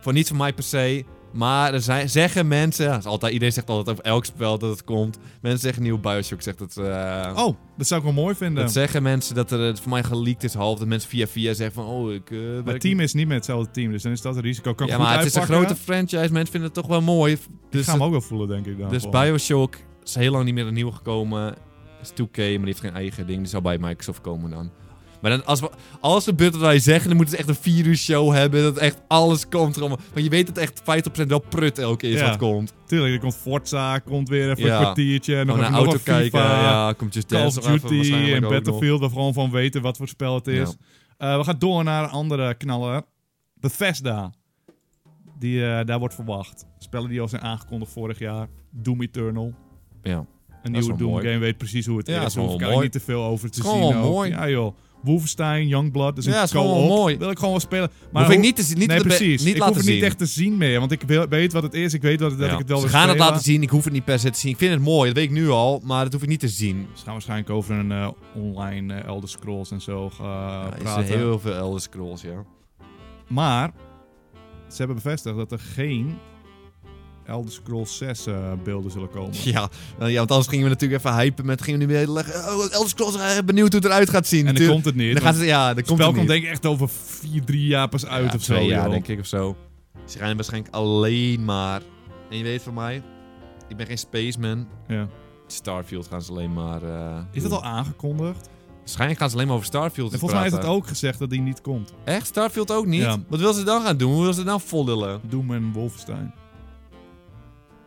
[SPEAKER 2] Voor niet van mij per se. Maar er zijn, zeggen mensen... ja, dat is altijd, iedereen zegt altijd over elk spel dat het komt. Mensen zeggen nieuw Bioshock. Zegt dat, eh,
[SPEAKER 1] Oh, dat zou ik wel mooi vinden.
[SPEAKER 2] dat zeggen mensen dat er eh, voor mij geleakt is half. Dat mensen via via zeggen van... Oh, ik... eh,
[SPEAKER 1] maar
[SPEAKER 2] werk
[SPEAKER 1] het team is niet met hetzelfde team, dus dan is dat een risico. Kan
[SPEAKER 2] Ja,
[SPEAKER 1] goed
[SPEAKER 2] maar het is een
[SPEAKER 1] uitpakken.
[SPEAKER 2] grote franchise. Mensen vinden het toch wel mooi.
[SPEAKER 1] Ik
[SPEAKER 2] Dus,
[SPEAKER 1] ga hem ook wel voelen, denk ik dan.
[SPEAKER 2] dus
[SPEAKER 1] gewoon.
[SPEAKER 2] Bioshock is heel lang niet meer een nieuwe gekomen. Is 2K, maar die heeft geen eigen ding. Die zou bij Microsoft komen dan. Maar dan, als we alles gebeurt wat wij zeggen, dan moeten ze echt een virus show hebben. Dat echt alles komt. er allemaal. Want je weet dat echt 50% wel prut elke keer
[SPEAKER 1] Ja.
[SPEAKER 2] wat komt.
[SPEAKER 1] Tuurlijk, er komt Forza, komt weer even
[SPEAKER 2] Ja.
[SPEAKER 1] een kwartiertje. En nog
[SPEAKER 2] Gewoon
[SPEAKER 1] even
[SPEAKER 2] naar
[SPEAKER 1] nog
[SPEAKER 2] auto
[SPEAKER 1] een FIFA,
[SPEAKER 2] kijken. Ja, komt Just
[SPEAKER 1] Call of
[SPEAKER 2] Dance nog even
[SPEAKER 1] Duty
[SPEAKER 2] waarschijnlijk
[SPEAKER 1] en
[SPEAKER 2] ook nog.
[SPEAKER 1] Battlefield, waar we gewoon van weten wat voor spel het is. Eh, we gaan door naar een andere knaller. Bethesda. Die, eh, daar wordt verwacht. Spellen die al zijn aangekondigd vorig jaar. Doom Eternal.
[SPEAKER 2] Ja.
[SPEAKER 1] Een
[SPEAKER 2] Dat is
[SPEAKER 1] nieuwe
[SPEAKER 2] wel
[SPEAKER 1] Doom
[SPEAKER 2] mooi.
[SPEAKER 1] game weet precies hoe het
[SPEAKER 2] Ja,
[SPEAKER 1] is.
[SPEAKER 2] dat is
[SPEAKER 1] Daar
[SPEAKER 2] wel
[SPEAKER 1] hoef ik
[SPEAKER 2] mooi.
[SPEAKER 1] eigenlijk niet te veel over te
[SPEAKER 2] Is
[SPEAKER 1] zien.
[SPEAKER 2] gewoon wel
[SPEAKER 1] ook.
[SPEAKER 2] mooi.
[SPEAKER 1] Ja joh. Wolfenstein, Youngblood. Dus
[SPEAKER 2] Ja,
[SPEAKER 1] een
[SPEAKER 2] is gewoon
[SPEAKER 1] co-op.
[SPEAKER 2] wel mooi.
[SPEAKER 1] Wil ik gewoon wel spelen.
[SPEAKER 2] Maar hoef ik
[SPEAKER 1] hoe-
[SPEAKER 2] niet te zien. Niet
[SPEAKER 1] nee,
[SPEAKER 2] te be-
[SPEAKER 1] precies.
[SPEAKER 2] Niet
[SPEAKER 1] ik
[SPEAKER 2] laten
[SPEAKER 1] hoef het
[SPEAKER 2] zien.
[SPEAKER 1] niet echt te zien meer. Want ik wil- weet wat het is. Ik weet wat het, dat
[SPEAKER 2] Ja.
[SPEAKER 1] ik het wel
[SPEAKER 2] Ze
[SPEAKER 1] wil
[SPEAKER 2] gaan het
[SPEAKER 1] spelen.
[SPEAKER 2] laten zien. Ik hoef het niet per se te zien. Ik vind het mooi. Dat weet ik nu al. Maar dat hoef ik niet te zien.
[SPEAKER 1] Ze gaan waarschijnlijk over een eh, online eh, Elder Scrolls en zo eh,
[SPEAKER 2] Ja, is er
[SPEAKER 1] praten.
[SPEAKER 2] heel veel Elder Scrolls, ja.
[SPEAKER 1] Maar ze hebben bevestigd dat er geen Elder Scrolls 6 eh, beelden zullen komen.
[SPEAKER 2] [laughs] Ja, nou ja, want anders gingen we natuurlijk even hypen met... Gingen we nu weer leggen... Oh, Elder Scrolls, eh, benieuwd hoe het eruit gaat zien.
[SPEAKER 1] en dan
[SPEAKER 2] Natuurlijk.
[SPEAKER 1] komt het niet.
[SPEAKER 2] Dan
[SPEAKER 1] want
[SPEAKER 2] gaat het, ja, dan
[SPEAKER 1] het
[SPEAKER 2] komt
[SPEAKER 1] spel
[SPEAKER 2] het
[SPEAKER 1] komt
[SPEAKER 2] niet.
[SPEAKER 1] denk ik echt over 4, 3 jaar pas uit
[SPEAKER 2] ja,
[SPEAKER 1] of zo.
[SPEAKER 2] twee jaar,
[SPEAKER 1] joh.
[SPEAKER 2] denk ik of zo. Ze gaan waarschijnlijk alleen maar... En je weet van mij, ik ben geen spaceman.
[SPEAKER 1] Ja.
[SPEAKER 2] Starfield gaan ze alleen maar... eh,
[SPEAKER 1] Is dat
[SPEAKER 2] doen.
[SPEAKER 1] al aangekondigd?
[SPEAKER 2] Waarschijnlijk gaan ze alleen maar over Starfield
[SPEAKER 1] En volgens mij is dat
[SPEAKER 2] praten.
[SPEAKER 1] ook gezegd dat die niet komt.
[SPEAKER 2] Echt? Starfield ook niet?
[SPEAKER 1] Ja.
[SPEAKER 2] Wat wil ze dan gaan doen? Hoe wil ze nou dan vollillen?
[SPEAKER 1] Doom en Wolfenstein.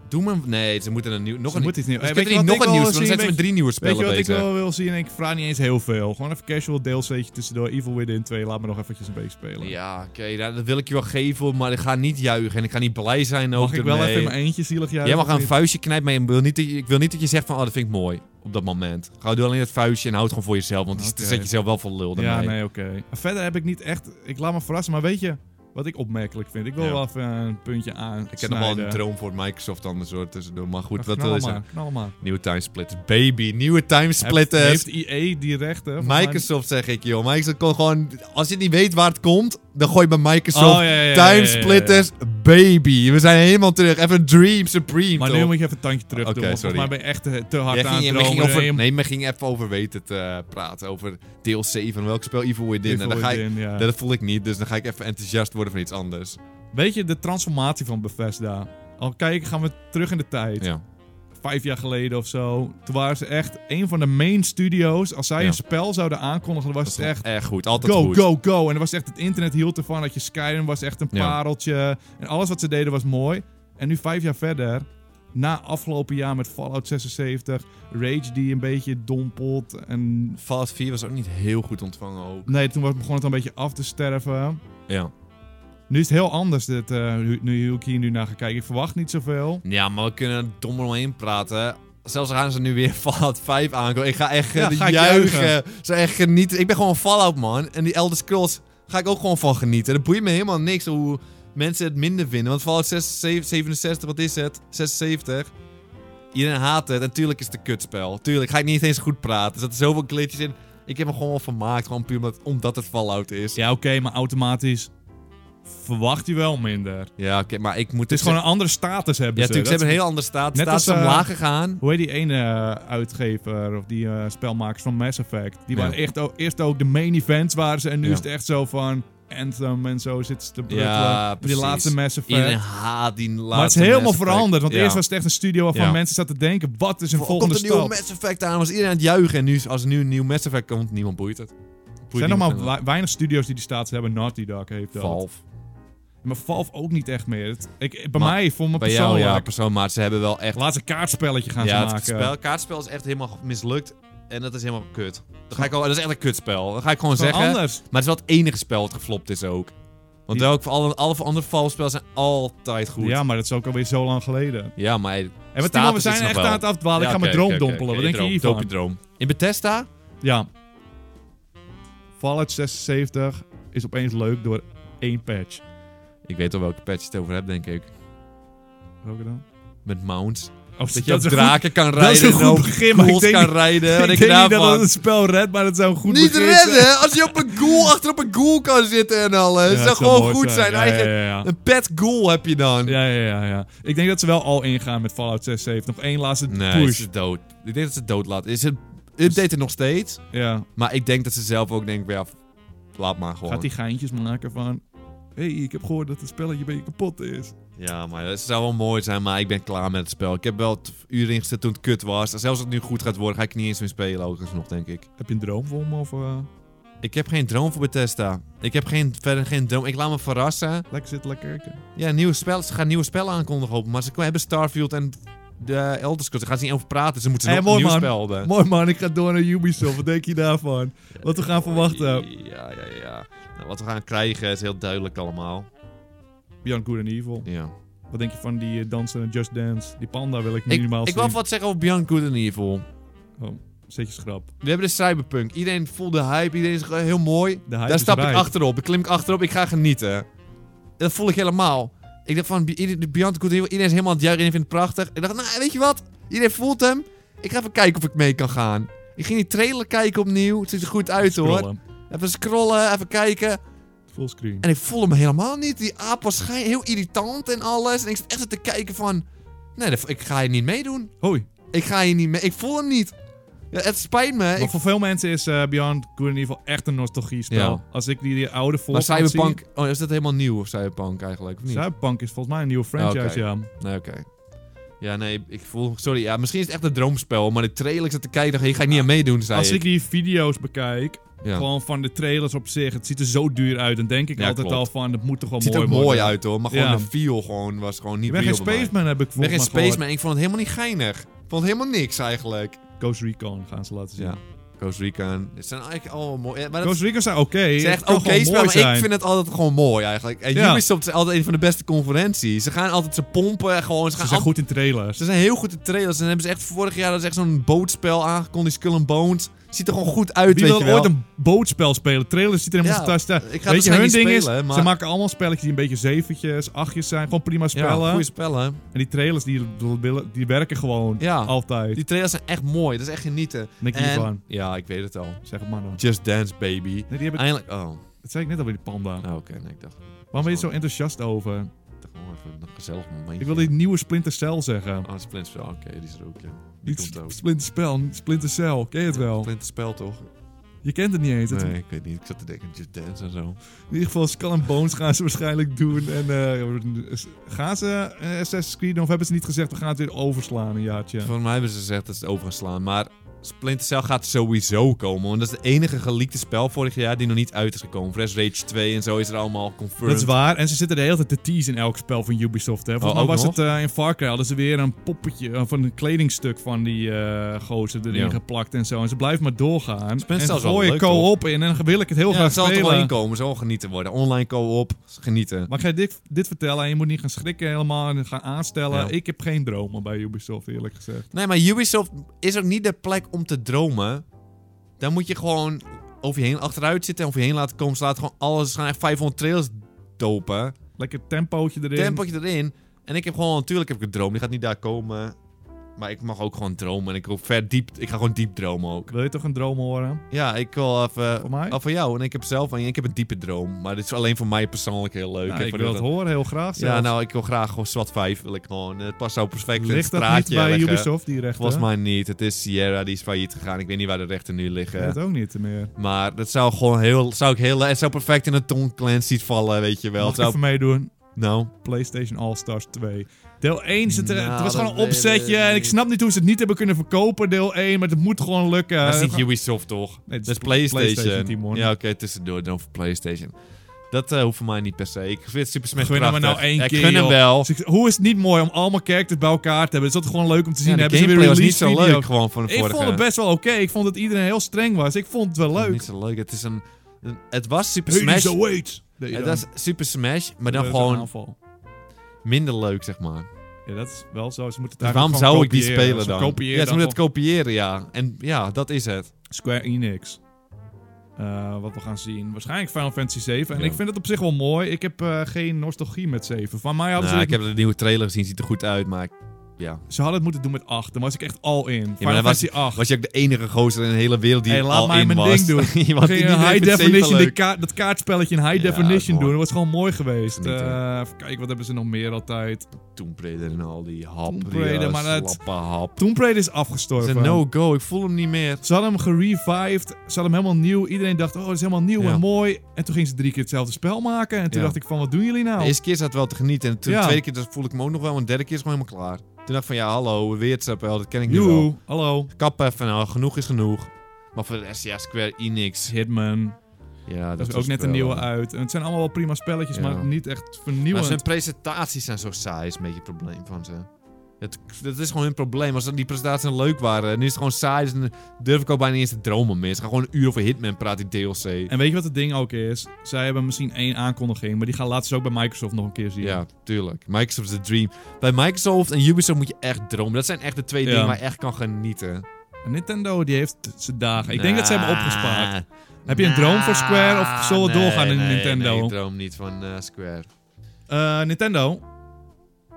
[SPEAKER 2] Doe maar... Nee, ze moeten een nieuw... Nog
[SPEAKER 1] Ze
[SPEAKER 2] een
[SPEAKER 1] moeten iets nieuws.
[SPEAKER 2] Ze
[SPEAKER 1] Eh, weet
[SPEAKER 2] kunnen
[SPEAKER 1] je
[SPEAKER 2] niet
[SPEAKER 1] wat
[SPEAKER 2] nog een
[SPEAKER 1] ik wel
[SPEAKER 2] nieuws doen,
[SPEAKER 1] zie? Weet
[SPEAKER 2] dan zijn ze met drie nieuwe
[SPEAKER 1] Weet
[SPEAKER 2] spellen
[SPEAKER 1] je wat ik
[SPEAKER 2] bezig.
[SPEAKER 1] wel wil zien? En ik vraag niet eens heel veel. Gewoon even casual deelsteentje tussendoor. Evil Within 2, laat me nog eventjes een beetje spelen.
[SPEAKER 2] Ja, oké, nou, dat wil ik je wel geven, maar ik ga niet juichen en ik ga niet blij zijn ook
[SPEAKER 1] Mag ik wel
[SPEAKER 2] ermee.
[SPEAKER 1] even in mijn eentje zielig juichen?
[SPEAKER 2] Jij mag
[SPEAKER 1] of
[SPEAKER 2] een
[SPEAKER 1] niet?
[SPEAKER 2] vuistje knijpen, maar ik wil, niet dat je, ik wil niet dat je zegt van, oh, dat vind ik mooi. Op dat moment. Ga doe alleen het vuistje en houd het gewoon voor jezelf, want dan
[SPEAKER 1] Oké.
[SPEAKER 2] zet je jezelf wel voor lul
[SPEAKER 1] Ja,
[SPEAKER 2] daarmee.
[SPEAKER 1] nee, oké. Maar Verder heb ik niet echt... Ik laat me verrassen, maar weet je wat ik opmerkelijk vind? Ik wil
[SPEAKER 2] Ja.
[SPEAKER 1] wel even een puntje aan
[SPEAKER 2] Ik heb nog wel een droom voor Microsoft anders hoor, tussendoor. Maar goed, wat wil
[SPEAKER 1] knal
[SPEAKER 2] je
[SPEAKER 1] maar,
[SPEAKER 2] zeggen?
[SPEAKER 1] knal maar.
[SPEAKER 2] Nieuwe timesplitters. Baby, nieuwe timesplitters.
[SPEAKER 1] Heeft EA die rechten? Volgens mij-
[SPEAKER 2] Microsoft zeg ik, joh. Microsoft kon gewoon... Als je niet weet waar het komt, dan gooi je bij Microsoft.
[SPEAKER 1] Oh, ja, ja, ja, ja, ja, ja.
[SPEAKER 2] Timesplitters, baby. We zijn helemaal terug. Even Dream Supreme,
[SPEAKER 1] Maar
[SPEAKER 2] toch?
[SPEAKER 1] nu moet je even een tandje terug doen.
[SPEAKER 2] Oké,
[SPEAKER 1] want
[SPEAKER 2] sorry.
[SPEAKER 1] Volgens mij ben je echt eh, te hard
[SPEAKER 2] Jij
[SPEAKER 1] aan het
[SPEAKER 2] ging,
[SPEAKER 1] dromen.
[SPEAKER 2] men ging over,
[SPEAKER 1] Je-
[SPEAKER 2] nee, men ging even over weten te eh, praten. Over deel 7 van welk spel Evil Within.
[SPEAKER 1] Evil
[SPEAKER 2] en dan ga ik,
[SPEAKER 1] Within, ja.
[SPEAKER 2] Dat voel ik niet, dus dan ga ik even enthousiast worden van iets anders.
[SPEAKER 1] Weet je, de transformatie van Bethesda. Al kijken, gaan we terug in de tijd.
[SPEAKER 2] Ja.
[SPEAKER 1] Vijf jaar geleden of zo. Toen waren ze echt een van de main studios. Als zij
[SPEAKER 2] Ja.
[SPEAKER 1] een spel zouden aankondigen, dan was
[SPEAKER 2] Dat is
[SPEAKER 1] het echt...
[SPEAKER 2] echt, echt goed. Altijd
[SPEAKER 1] Go,
[SPEAKER 2] goed.
[SPEAKER 1] go, go. En er was echt, het internet hield ervan dat je Skyrim was echt een
[SPEAKER 2] Ja.
[SPEAKER 1] pareltje. En alles wat ze deden was mooi. En nu vijf jaar verder, na afgelopen jaar met Fallout 76, Rage die een beetje dompelt. En
[SPEAKER 2] Fallout 4 was ook niet heel goed ontvangen ook.
[SPEAKER 1] nee, toen was- begon het een beetje af te sterven.
[SPEAKER 2] Ja.
[SPEAKER 1] Nu is het heel anders, dit, eh, nu- nu ik hier nu naar ga kijken. Ik verwacht niet zoveel.
[SPEAKER 2] ja, maar we kunnen er dommer omheen praten. Zelfs gaan ze nu weer [laughs] Fallout 5 aankomen. Ik ga echt eh,
[SPEAKER 1] Ja, ga ik
[SPEAKER 2] juichen.
[SPEAKER 1] juichen.
[SPEAKER 2] Ze echt genieten. Ik ben gewoon Fallout man. En die Elder Scrolls ga ik ook gewoon van genieten. Dat boeit me helemaal niks hoe mensen het minder vinden. Want Fallout 6, 67, wat is het? 76. Iedereen haat het. En tuurlijk is het een kutspel. Tuurlijk ga ik niet eens goed praten. Er zaten zoveel glitches in. Ik heb er gewoon wel van gemaakt. Gewoon puur omdat, omdat het Fallout is. Ja,
[SPEAKER 1] Ja, oké, maar automatisch verwacht je wel minder. Het
[SPEAKER 2] oké. maar ik moet...
[SPEAKER 1] is gewoon een andere status hebben ze.
[SPEAKER 2] Ja, natuurlijk. Ze
[SPEAKER 1] Dat
[SPEAKER 2] hebben
[SPEAKER 1] is-
[SPEAKER 2] een heel andere staat.
[SPEAKER 1] Net
[SPEAKER 2] Staat is
[SPEAKER 1] als, eh,
[SPEAKER 2] omlaag gegaan.
[SPEAKER 1] Hoe heet die ene eh, uitgever of die eh, spelmakers van Mass Effect? Die
[SPEAKER 2] Ja.
[SPEAKER 1] waren echt ook, eerst ook de main events waren ze en nu
[SPEAKER 2] Ja.
[SPEAKER 1] is het echt zo van Anthem en zo zitten ze te bruttelen.
[SPEAKER 2] Ja,
[SPEAKER 1] die
[SPEAKER 2] precies.
[SPEAKER 1] laatste Mass Effect.
[SPEAKER 2] Iedereen haat die laatste
[SPEAKER 1] maar het is helemaal
[SPEAKER 2] Mass Effect.
[SPEAKER 1] veranderd, want
[SPEAKER 2] Ja.
[SPEAKER 1] eerst was het echt een studio waarvan
[SPEAKER 2] Ja.
[SPEAKER 1] mensen zaten te denken, wat is een
[SPEAKER 2] Voor-
[SPEAKER 1] volgende
[SPEAKER 2] komt een nieuwe
[SPEAKER 1] stap?
[SPEAKER 2] Mass Effect aan, was iedereen aan het juichen. En nu, als er nu een nieuw Mass Effect komt, niemand boeit het. Boeit
[SPEAKER 1] Er zijn nog
[SPEAKER 2] niemand
[SPEAKER 1] maar wa- weinig studio's die die status hebben. Naughty Dog heeft dat.
[SPEAKER 2] Valve.
[SPEAKER 1] Maar Valve ook niet echt meer. Het- ik, bij
[SPEAKER 2] Maar
[SPEAKER 1] mij, voor mijn
[SPEAKER 2] Bij jou,
[SPEAKER 1] persoonlijk.
[SPEAKER 2] ja, persoon. Maar ze hebben wel echt...
[SPEAKER 1] Laat ze een kaartspelletje gaan
[SPEAKER 2] ja,
[SPEAKER 1] ze maken.
[SPEAKER 2] het spel, kaartspel is echt helemaal mislukt. En dat is helemaal kut. Dat, ga ik al, dat is echt een kutspel. Dat ga ik gewoon
[SPEAKER 1] Gewoon
[SPEAKER 2] zeggen.
[SPEAKER 1] anders.
[SPEAKER 2] Maar het is wel het enige spel dat geflopt is ook. Want
[SPEAKER 1] Die-
[SPEAKER 2] ook voor alle, alle andere Valve spellen zijn altijd goed.
[SPEAKER 1] Ja, maar dat is ook alweer zo lang geleden.
[SPEAKER 2] Ja, maar... hey,
[SPEAKER 1] En wat Timo, we
[SPEAKER 2] status is
[SPEAKER 1] zijn
[SPEAKER 2] nog
[SPEAKER 1] echt
[SPEAKER 2] wel.
[SPEAKER 1] aan het afdwalen.
[SPEAKER 2] Ja,
[SPEAKER 1] ik ga mijn
[SPEAKER 2] oké,
[SPEAKER 1] droom
[SPEAKER 2] oké, oké,
[SPEAKER 1] dompelen.
[SPEAKER 2] oké,
[SPEAKER 1] Wat denk je
[SPEAKER 2] droom,
[SPEAKER 1] hiervan?
[SPEAKER 2] doop je droom. In Bethesda?
[SPEAKER 1] Ja. Fallout 76 is opeens leuk door één patch.
[SPEAKER 2] Ik weet al welke patch je het over hebt, denk ik.
[SPEAKER 1] Welke dan?
[SPEAKER 2] Met mounts.
[SPEAKER 1] Of
[SPEAKER 2] Dat je op
[SPEAKER 1] een
[SPEAKER 2] draken kan
[SPEAKER 1] Oh, [laughs] dat is
[SPEAKER 2] rijden.
[SPEAKER 1] een goed
[SPEAKER 2] en op
[SPEAKER 1] begin, maar ik
[SPEAKER 2] ghouls
[SPEAKER 1] denk
[SPEAKER 2] kan
[SPEAKER 1] niet-
[SPEAKER 2] rijden.
[SPEAKER 1] goed,
[SPEAKER 2] Wat
[SPEAKER 1] ik
[SPEAKER 2] denk
[SPEAKER 1] denk
[SPEAKER 2] je
[SPEAKER 1] niet dat
[SPEAKER 2] daarvan?
[SPEAKER 1] het spel redt, maar dat zou een goed
[SPEAKER 2] Niet
[SPEAKER 1] begin zijn.
[SPEAKER 2] redden! Als je op een ghoul achter op een ghoul kan zitten en alles.
[SPEAKER 1] Ja,
[SPEAKER 2] dat
[SPEAKER 1] het
[SPEAKER 2] zou gewoon
[SPEAKER 1] mooi
[SPEAKER 2] goed zijn.
[SPEAKER 1] Ja,
[SPEAKER 2] Eigen-
[SPEAKER 1] ja, ja, ja.
[SPEAKER 2] Een pet ghoul heb je dan.
[SPEAKER 1] Ja, ja, ja, ja. Ik denk dat ze wel al ingaan met Fallout 76. Nog één laatste
[SPEAKER 2] Nee,
[SPEAKER 1] push.
[SPEAKER 2] ze is dood. Ik denk dat ze dood laat. Is het update het nog steeds?
[SPEAKER 1] Ja.
[SPEAKER 2] Maar ik denk dat ze zelf ook denkt, ja, laat maar gewoon.
[SPEAKER 1] Gaat die geintjes maken van... hey, ik heb gehoord dat het spelletje een beetje kapot is.
[SPEAKER 2] Ja, maar dat zou wel mooi zijn, maar ik ben klaar met het spel. Ik heb wel t- uren ingezet toen het kut was. En zelfs als het nu goed gaat worden, ga ik niet eens meer spelen overigens nog, denk ik.
[SPEAKER 1] Heb je een droom voor me of... eh,
[SPEAKER 2] Ik heb geen droom voor Bethesda. Ik heb geen, verder geen droom. Ik laat me verrassen.
[SPEAKER 1] lekker zitten, lekker kijken.
[SPEAKER 2] Ja, nieuwe spel. Ze gaan nieuwe spellen aankondigen, hopen. Maar ze hebben Starfield en de Elder Scrolls. Daar gaan ze niet over praten. Ze moeten
[SPEAKER 1] Hey,
[SPEAKER 2] nog
[SPEAKER 1] mooi,
[SPEAKER 2] een nieuw
[SPEAKER 1] man.
[SPEAKER 2] spel hebben.
[SPEAKER 1] Mooi man, ik ga door naar Ubisoft. Wat denk je daarvan? Wat we gaan verwachten.
[SPEAKER 2] Ja, ja, ja. Nou, wat we gaan krijgen is heel duidelijk allemaal.
[SPEAKER 1] Beyond Good and Evil.
[SPEAKER 2] Ja.
[SPEAKER 1] Wat denk je van die eh, dansen in Just Dance? Die panda wil ik
[SPEAKER 2] Ik,
[SPEAKER 1] minimaal
[SPEAKER 2] ik
[SPEAKER 1] zien.
[SPEAKER 2] wil wat zeggen over Beyond Good and Evil.
[SPEAKER 1] Oh. zet je schrap.
[SPEAKER 2] We hebben de Cyberpunk. Iedereen voelt de hype. Iedereen is gewoon heel mooi.
[SPEAKER 1] De hype
[SPEAKER 2] Daar
[SPEAKER 1] is
[SPEAKER 2] stap ik
[SPEAKER 1] erbij.
[SPEAKER 2] achterop. Ik klim ik achterop. Ik ga genieten. Dat voel ik helemaal. Ik dacht van, ieder- de Beyond Good and Evil, Iedereen is helemaal aan het juichen. Iedereen vindt het prachtig. Ik dacht, nou, weet je wat? Iedereen voelt hem. Ik ga even kijken of ik mee kan gaan. Ik ging die trailer kijken opnieuw. Het ziet er goed uit hoor.
[SPEAKER 1] Scrollen.
[SPEAKER 2] Even scrollen, even kijken.
[SPEAKER 1] Fullscreen.
[SPEAKER 2] En ik voel hem helemaal niet. Die aap was schijn- heel irritant en alles. En ik zat echt te kijken van... Nee, dat- ik ga hier niet meedoen.
[SPEAKER 1] Hoi.
[SPEAKER 2] Ik ga hier niet mee. Ik voel hem niet. Ja, het spijt me.
[SPEAKER 1] Maar
[SPEAKER 2] Ik-
[SPEAKER 1] voor veel mensen is eh, Beyond Good in ieder geval echt een nostalgie spel.
[SPEAKER 2] Ja.
[SPEAKER 1] Als ik die, die oude
[SPEAKER 2] Maar
[SPEAKER 1] volgens
[SPEAKER 2] Cyberpunk... Oh, is dat helemaal nieuw, of Cyberpunk eigenlijk? Of niet?
[SPEAKER 1] Cyberpunk is volgens mij een nieuwe franchise,
[SPEAKER 2] Oké.
[SPEAKER 1] ja.
[SPEAKER 2] nee, oké. Ja, nee, ik voel... Sorry, ja, misschien is het echt een droomspel. Maar de trailer, ik zat te kijken, dacht, hier ga ik niet aan meedoen, zei
[SPEAKER 1] Als ik die video's bekijk,
[SPEAKER 2] Ja.
[SPEAKER 1] gewoon van de trailers op zich, het ziet er zo duur uit. Dan denk ik
[SPEAKER 2] Ja,
[SPEAKER 1] altijd
[SPEAKER 2] klopt.
[SPEAKER 1] al van, het moet toch wel
[SPEAKER 2] Het ziet er
[SPEAKER 1] mooi
[SPEAKER 2] ook
[SPEAKER 1] worden.
[SPEAKER 2] mooi uit, hoor. Maar gewoon
[SPEAKER 1] Ja.
[SPEAKER 2] de feel gewoon, was gewoon niet
[SPEAKER 1] Ik ben geen
[SPEAKER 2] real bij mij.
[SPEAKER 1] Spaceman, heb ik
[SPEAKER 2] Ik ben
[SPEAKER 1] volgens
[SPEAKER 2] geen
[SPEAKER 1] mij gehoord.
[SPEAKER 2] Spaceman. Ik vond het helemaal niet geinig. Ik vond het helemaal niks, eigenlijk.
[SPEAKER 1] Ghost Recon gaan ze laten zien.
[SPEAKER 2] Ja. Costa Rica. Het zijn eigenlijk allemaal mooi... ja, Maar dat
[SPEAKER 1] Ghost Recon zijn oké.
[SPEAKER 2] Het is
[SPEAKER 1] Het
[SPEAKER 2] echt
[SPEAKER 1] kan
[SPEAKER 2] oké
[SPEAKER 1] gewoon
[SPEAKER 2] spel,
[SPEAKER 1] mooi
[SPEAKER 2] maar
[SPEAKER 1] zijn.
[SPEAKER 2] ik vind het altijd gewoon mooi eigenlijk. En
[SPEAKER 1] Ja.
[SPEAKER 2] Ubisoft is altijd een van de beste conferenties. Ze gaan altijd, ze pompen en gewoon. Ze, gaan
[SPEAKER 1] Ze
[SPEAKER 2] al-
[SPEAKER 1] zijn goed in trailers.
[SPEAKER 2] ze zijn heel goed in trailers. En dan hebben ze echt vorig jaar dat is echt zo'n bootspel aangekondigd, Skull and Bones. Ziet er gewoon goed uit,
[SPEAKER 1] Wie
[SPEAKER 2] weet
[SPEAKER 1] wil
[SPEAKER 2] je wel.
[SPEAKER 1] ooit een bootspel spelen? Trailers ziet er helemaal
[SPEAKER 2] Ja,
[SPEAKER 1] fantastisch uit.
[SPEAKER 2] ik ga
[SPEAKER 1] Weet je, hun
[SPEAKER 2] waarschijnlijk
[SPEAKER 1] ding
[SPEAKER 2] niet
[SPEAKER 1] is,
[SPEAKER 2] spelen, maar-
[SPEAKER 1] ze maken allemaal spelletjes die een beetje zeventjes, achtjes zijn. Gewoon prima
[SPEAKER 2] Ja,
[SPEAKER 1] spellen.
[SPEAKER 2] goede spellen.
[SPEAKER 1] en die trailers, die, willen- die werken gewoon
[SPEAKER 2] Ja.
[SPEAKER 1] altijd.
[SPEAKER 2] Die trailers zijn echt mooi. Dat is echt genieten.
[SPEAKER 1] Nick
[SPEAKER 2] En-
[SPEAKER 1] hiervan.
[SPEAKER 2] Ja, ik weet het al.
[SPEAKER 1] Zeg het maar dan.
[SPEAKER 2] Just Dance Baby.
[SPEAKER 1] Nee, die heb ik,
[SPEAKER 2] Eindelijk. Oh, oh,
[SPEAKER 1] dat zei ik net al bij die panda.
[SPEAKER 2] oké. Nee, ik dacht, ik
[SPEAKER 1] Waarom ben je zo enthousiast over?
[SPEAKER 2] dacht gewoon even een gezellig momentje.
[SPEAKER 1] Ik wil die nieuwe Splinter Cell zeggen.
[SPEAKER 2] Oh, Splinter Cell. Oké, die is er ook, ja. Die
[SPEAKER 1] Niet
[SPEAKER 2] komt ook.
[SPEAKER 1] Splinter Spell, niet Splinter Cell. Ken je het wel?
[SPEAKER 2] Splinter Spel, toch?
[SPEAKER 1] Je kent het niet eens. Het-
[SPEAKER 2] Nee, ik weet niet. Ik zat te denken, Just Dance en zo.
[SPEAKER 1] In ieder geval Skull and Bones gaan ze waarschijnlijk doen. En eh, gaan ze eh, Assassin's Creed doen? Of hebben ze niet gezegd, we gaan het weer overslaan een jaartje?
[SPEAKER 2] Volgens mij hebben ze gezegd dat ze het over gaan slaan. Maar Splinter Cell gaat sowieso komen. Want dat is het enige geliekte spel vorig jaar die nog niet uit is gekomen. Fresh Rage 2 en zo is er allemaal confirmed.
[SPEAKER 1] Dat is waar. En ze zitten de hele tijd te teasen in elk spel van Ubisoft. Hè. Volgens
[SPEAKER 2] Oh,
[SPEAKER 1] mij
[SPEAKER 2] ook
[SPEAKER 1] was
[SPEAKER 2] nog?
[SPEAKER 1] het eh, in Far Cry hadden ze weer een poppetje eh, van een kledingstuk van die eh gozer erin
[SPEAKER 2] Ja.
[SPEAKER 1] geplakt en zo. En ze blijven maar doorgaan.
[SPEAKER 2] Splinter
[SPEAKER 1] en
[SPEAKER 2] Cell
[SPEAKER 1] ze
[SPEAKER 2] is wel
[SPEAKER 1] gooien
[SPEAKER 2] leuk,
[SPEAKER 1] co-op in en dan wil ik het heel
[SPEAKER 2] Ja,
[SPEAKER 1] graag
[SPEAKER 2] het zal er toch wel
[SPEAKER 1] spelen.
[SPEAKER 2] inkomen. Zo genieten worden. Online co-op. Genieten.
[SPEAKER 1] Maar ik ga je dit, dit vertellen en je moet niet gaan schrikken helemaal en gaan aanstellen.
[SPEAKER 2] Ja.
[SPEAKER 1] Ik heb geen dromen bij Ubisoft eerlijk gezegd.
[SPEAKER 2] Nee, maar Ubisoft is ook niet de plek om te dromen. Daar moet je gewoon over je heen achteruit zitten. En over je heen laten komen. Ze laten gewoon alles. Ze gaan echt 500 trails dopen.
[SPEAKER 1] Lekker tempootje erin.
[SPEAKER 2] Tempotje erin. En ik heb gewoon, natuurlijk heb ik een droom. Die gaat niet daar komen. Maar ik mag ook gewoon dromen. En ik wil ver diep. Ik ga gewoon diep dromen ook.
[SPEAKER 1] Wil je toch een droom horen?
[SPEAKER 2] Ja, ik wil even.
[SPEAKER 1] Van mij?
[SPEAKER 2] Al van jou. En ik heb zelf een. Ik heb een diepe droom. Maar dit is alleen voor mij persoonlijk heel leuk.
[SPEAKER 1] Nou,
[SPEAKER 2] heb
[SPEAKER 1] ik
[SPEAKER 2] voor
[SPEAKER 1] wil het
[SPEAKER 2] dat-
[SPEAKER 1] horen, heel graag zelfs.
[SPEAKER 2] Ja, nou, ik wil graag gewoon SWAT 5. Wil ik gewoon. Het past nou perfect in het
[SPEAKER 1] Ligt dat niet
[SPEAKER 2] straatje.
[SPEAKER 1] bij
[SPEAKER 2] leggen.
[SPEAKER 1] Ubisoft, die rechten?
[SPEAKER 2] Volgens mij niet. Het is Sierra die is failliet gegaan. Ik weet niet waar de rechten nu liggen.
[SPEAKER 1] Dat ook niet meer.
[SPEAKER 2] Maar dat zou gewoon heel. Zou ik heel. Het zou perfect in een Tom Clancy's vallen, weet je wel.
[SPEAKER 1] Mag ik
[SPEAKER 2] Zou-
[SPEAKER 1] even meedoen?
[SPEAKER 2] Nou.
[SPEAKER 1] PlayStation All-Stars 2. Deel 1 zit er,
[SPEAKER 2] Nou,
[SPEAKER 1] het was gewoon een
[SPEAKER 2] dat weet
[SPEAKER 1] opzetje.
[SPEAKER 2] ik
[SPEAKER 1] En ik
[SPEAKER 2] niet.
[SPEAKER 1] snap niet hoe ze het niet hebben kunnen verkopen, deel 1. Maar het moet gewoon lukken.
[SPEAKER 2] dat is niet Ubisoft toch?
[SPEAKER 1] Nee,
[SPEAKER 2] dat is PlayStation.
[SPEAKER 1] Timon.
[SPEAKER 2] ja, oké, tussendoor dan voor PlayStation. Dat eh, hoeft voor mij niet per se. Ik vind Super Smash
[SPEAKER 1] Gun hem er
[SPEAKER 2] prachtig.
[SPEAKER 1] nou één
[SPEAKER 2] Ja, ik
[SPEAKER 1] keer,
[SPEAKER 2] gun hem
[SPEAKER 1] joh.
[SPEAKER 2] wel.
[SPEAKER 1] Dus ik- hoe is het niet mooi om allemaal characters bij elkaar te hebben? Het is dat gewoon leuk om te zien.
[SPEAKER 2] Ja, de
[SPEAKER 1] hebben ze weer
[SPEAKER 2] gameplay was niet
[SPEAKER 1] release
[SPEAKER 2] zo
[SPEAKER 1] video.
[SPEAKER 2] leuk gewoon van de
[SPEAKER 1] Ik
[SPEAKER 2] vorige.
[SPEAKER 1] vond het best wel oké. Ik vond dat iedereen heel streng was. Ik vond het wel
[SPEAKER 2] Het was
[SPEAKER 1] leuk.
[SPEAKER 2] Niet zo leuk. Het is een... een- het was Super
[SPEAKER 1] Hades
[SPEAKER 2] Smash.
[SPEAKER 1] Awaits. deed je
[SPEAKER 2] Het
[SPEAKER 1] dan.
[SPEAKER 2] was Super Smash, maar dan
[SPEAKER 1] Dat is een
[SPEAKER 2] gewoon
[SPEAKER 1] aanval.
[SPEAKER 2] minder leuk, zeg maar.
[SPEAKER 1] Ja, dat is wel zo. Ze moeten het
[SPEAKER 2] Dus waarom
[SPEAKER 1] eigenlijk
[SPEAKER 2] zou
[SPEAKER 1] gewoon
[SPEAKER 2] ik die
[SPEAKER 1] kopiëren.
[SPEAKER 2] spelen
[SPEAKER 1] Ze
[SPEAKER 2] dan?
[SPEAKER 1] kopiëren
[SPEAKER 2] ja, ze
[SPEAKER 1] dan
[SPEAKER 2] moeten het
[SPEAKER 1] gewoon
[SPEAKER 2] kopiëren, ja. En ja, dat is het.
[SPEAKER 1] Square Enix. Eh, wat we gaan zien. Waarschijnlijk Final Fantasy 7. En
[SPEAKER 2] Ja.
[SPEAKER 1] ik vind het op zich wel mooi. Ik heb eh, geen nostalgie met 7. Van mij hadden
[SPEAKER 2] Nou,
[SPEAKER 1] ze,
[SPEAKER 2] ik heb de nieuwe trailer gezien, ziet er goed uit, maar... ik- Ja.
[SPEAKER 1] ze hadden het moeten doen met 8. Dan was ik echt al in. Final
[SPEAKER 2] dan was-
[SPEAKER 1] Fantasy 8.
[SPEAKER 2] Was je ook de enige gozer in de hele wereld die
[SPEAKER 1] Hey,
[SPEAKER 2] er
[SPEAKER 1] laat
[SPEAKER 2] al
[SPEAKER 1] mij
[SPEAKER 2] in
[SPEAKER 1] mijn
[SPEAKER 2] was?
[SPEAKER 1] ding doen.
[SPEAKER 2] [laughs] Je was
[SPEAKER 1] Ging
[SPEAKER 2] niet
[SPEAKER 1] je
[SPEAKER 2] leuk,
[SPEAKER 1] high
[SPEAKER 2] vindt zeven
[SPEAKER 1] definition, de
[SPEAKER 2] leuk.
[SPEAKER 1] ka- dat kaartspelletje in high
[SPEAKER 2] Ja, dat is
[SPEAKER 1] definition
[SPEAKER 2] mooi.
[SPEAKER 1] doen. Dat was gewoon mooi geweest.
[SPEAKER 2] Genieten.
[SPEAKER 1] Eh, even kijken, wat hebben ze nog meer altijd?
[SPEAKER 2] Tomb Raider en al die hap.
[SPEAKER 1] Tomb
[SPEAKER 2] die, eh,
[SPEAKER 1] Raider, maar dat- eh,
[SPEAKER 2] slappe hap.
[SPEAKER 1] Tomb Raider is
[SPEAKER 2] Het is
[SPEAKER 1] afgestorven.
[SPEAKER 2] een no-go, ik voel hem niet meer.
[SPEAKER 1] Ze hadden hem gerevived. Ze hadden hem helemaal nieuw. Iedereen dacht, oh, dat is helemaal nieuw
[SPEAKER 2] Ja.
[SPEAKER 1] en mooi. En toen gingen ze drie keer hetzelfde spel maken. En toen
[SPEAKER 2] Ja.
[SPEAKER 1] dacht ik van, wat doen jullie
[SPEAKER 2] De
[SPEAKER 1] nou?
[SPEAKER 2] eerste keer zat wel te genieten en toen,
[SPEAKER 1] Ja.
[SPEAKER 2] de tweede keer dat voel ik me ook nog wel, maar de derde keer is gewoon helemaal klaar. Toen dacht ik van ja, hallo, weer hetzelfde, dat ken ik nu wel.
[SPEAKER 1] Joe, hallo.
[SPEAKER 2] Kap even, nou, genoeg is genoeg. Maar voor de rest, ja, Square Enix.
[SPEAKER 1] Hitman.
[SPEAKER 2] Ja,
[SPEAKER 1] Dat
[SPEAKER 2] dat
[SPEAKER 1] is ook
[SPEAKER 2] was
[SPEAKER 1] net een
[SPEAKER 2] wel- eh,
[SPEAKER 1] nieuwe uit. En het zijn allemaal wel prima spelletjes,
[SPEAKER 2] Ja.
[SPEAKER 1] maar niet echt
[SPEAKER 2] Maar
[SPEAKER 1] vernieuwend.
[SPEAKER 2] zijn presentaties zijn zo saai, is een beetje het probleem van ze. Het, dat is gewoon hun probleem. Als die presentaties nou leuk waren, nu is het gewoon saai. Dus dan durf ik ook bijna niet eens te dromen meer. Ze gaan gewoon een uur over Hitman praten, die DLC.
[SPEAKER 1] En weet je wat het ding ook is? Zij hebben misschien één aankondiging, maar die gaan laatst dus ook bij Microsoft nog een keer zien.
[SPEAKER 2] Ja, tuurlijk. Microsoft's the dream. Bij Microsoft en Ubisoft moet je echt dromen. Dat zijn echt de twee
[SPEAKER 1] Ja.
[SPEAKER 2] dingen waar je echt kan genieten.
[SPEAKER 1] En Nintendo die heeft zijn dagen. Ik denk dat ze hebben opgespaard.
[SPEAKER 2] Nah.
[SPEAKER 1] Heb je een droom voor Square of zullen we
[SPEAKER 2] Nah,
[SPEAKER 1] doorgaan in
[SPEAKER 2] nee, nee,
[SPEAKER 1] Nintendo?
[SPEAKER 2] Nee, ik droom niet van eh, Square.
[SPEAKER 1] Eh, Nintendo.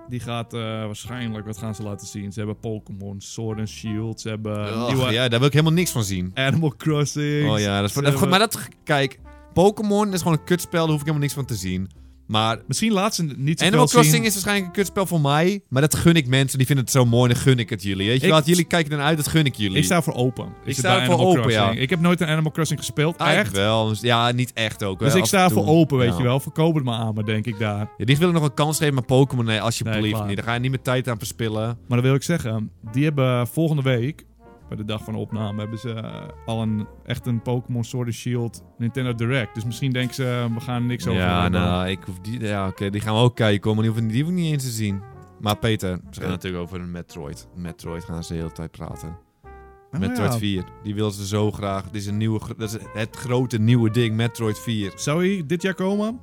[SPEAKER 1] Die gaat eh, waarschijnlijk, wat gaan ze laten zien? Ze hebben Pokémon, Sword and Shield, ze hebben
[SPEAKER 2] Ugh,
[SPEAKER 1] nieuwe
[SPEAKER 2] ja, daar wil ik helemaal niks van zien.
[SPEAKER 1] Animal Crossing.
[SPEAKER 2] Oh ja, dat is,
[SPEAKER 1] ze
[SPEAKER 2] dat-
[SPEAKER 1] hebben-
[SPEAKER 2] maar dat... Kijk, Pokémon is gewoon een kutspel, daar hoef ik helemaal niks van te zien. Maar
[SPEAKER 1] Misschien laat ze niet zoveel
[SPEAKER 2] Animal Crossing
[SPEAKER 1] zien.
[SPEAKER 2] is waarschijnlijk een kutspel voor mij, maar dat gun ik mensen. Die vinden het zo mooi, dan gun ik het jullie. Weet je
[SPEAKER 1] Ik-
[SPEAKER 2] wel, dat jullie kijken ernaar uit, dat gun ik jullie.
[SPEAKER 1] Ik sta voor open. Is het
[SPEAKER 2] sta
[SPEAKER 1] bij
[SPEAKER 2] voor
[SPEAKER 1] Animal
[SPEAKER 2] open,
[SPEAKER 1] Crossing?
[SPEAKER 2] ja.
[SPEAKER 1] Ik heb nooit een Animal Crossing gespeeld,
[SPEAKER 2] Ah,
[SPEAKER 1] echt.
[SPEAKER 2] wel. dus- Ja, niet echt ook.
[SPEAKER 1] Dus
[SPEAKER 2] hè,
[SPEAKER 1] ik
[SPEAKER 2] af
[SPEAKER 1] sta
[SPEAKER 2] en toe.
[SPEAKER 1] voor open, weet
[SPEAKER 2] Ja.
[SPEAKER 1] je wel. Verkoop het maar aan me, denk ik daar.
[SPEAKER 2] Ja, die willen nog een kans geven, maar Pokémon, nee,
[SPEAKER 1] Nee,
[SPEAKER 2] alsjeblieft
[SPEAKER 1] klaar.
[SPEAKER 2] niet. Daar ga je niet meer tijd aan verspillen.
[SPEAKER 1] Maar dat wil ik zeggen, die hebben volgende week, bij de dag van de opname, hebben ze eh, al een, echt een Pokémon Sword and Shield Nintendo Direct. Dus misschien denken ze, eh, we gaan niks over
[SPEAKER 2] ja,
[SPEAKER 1] hebben.
[SPEAKER 2] nou, ik hoef die... Ja, oké, die gaan we ook kijken, hoor, maar die hoef, die hoef ik niet eens te zien. Maar Peter, ze gaan
[SPEAKER 1] Ja.
[SPEAKER 2] natuurlijk over een Metroid. Metroid gaan ze de hele tijd praten.
[SPEAKER 1] Ah,
[SPEAKER 2] Metroid
[SPEAKER 1] ja.
[SPEAKER 2] 4, die willen ze zo graag. Dit is, een nieuwe, gro- dat is het grote nieuwe ding, Metroid 4.
[SPEAKER 1] Zou hij dit jaar komen?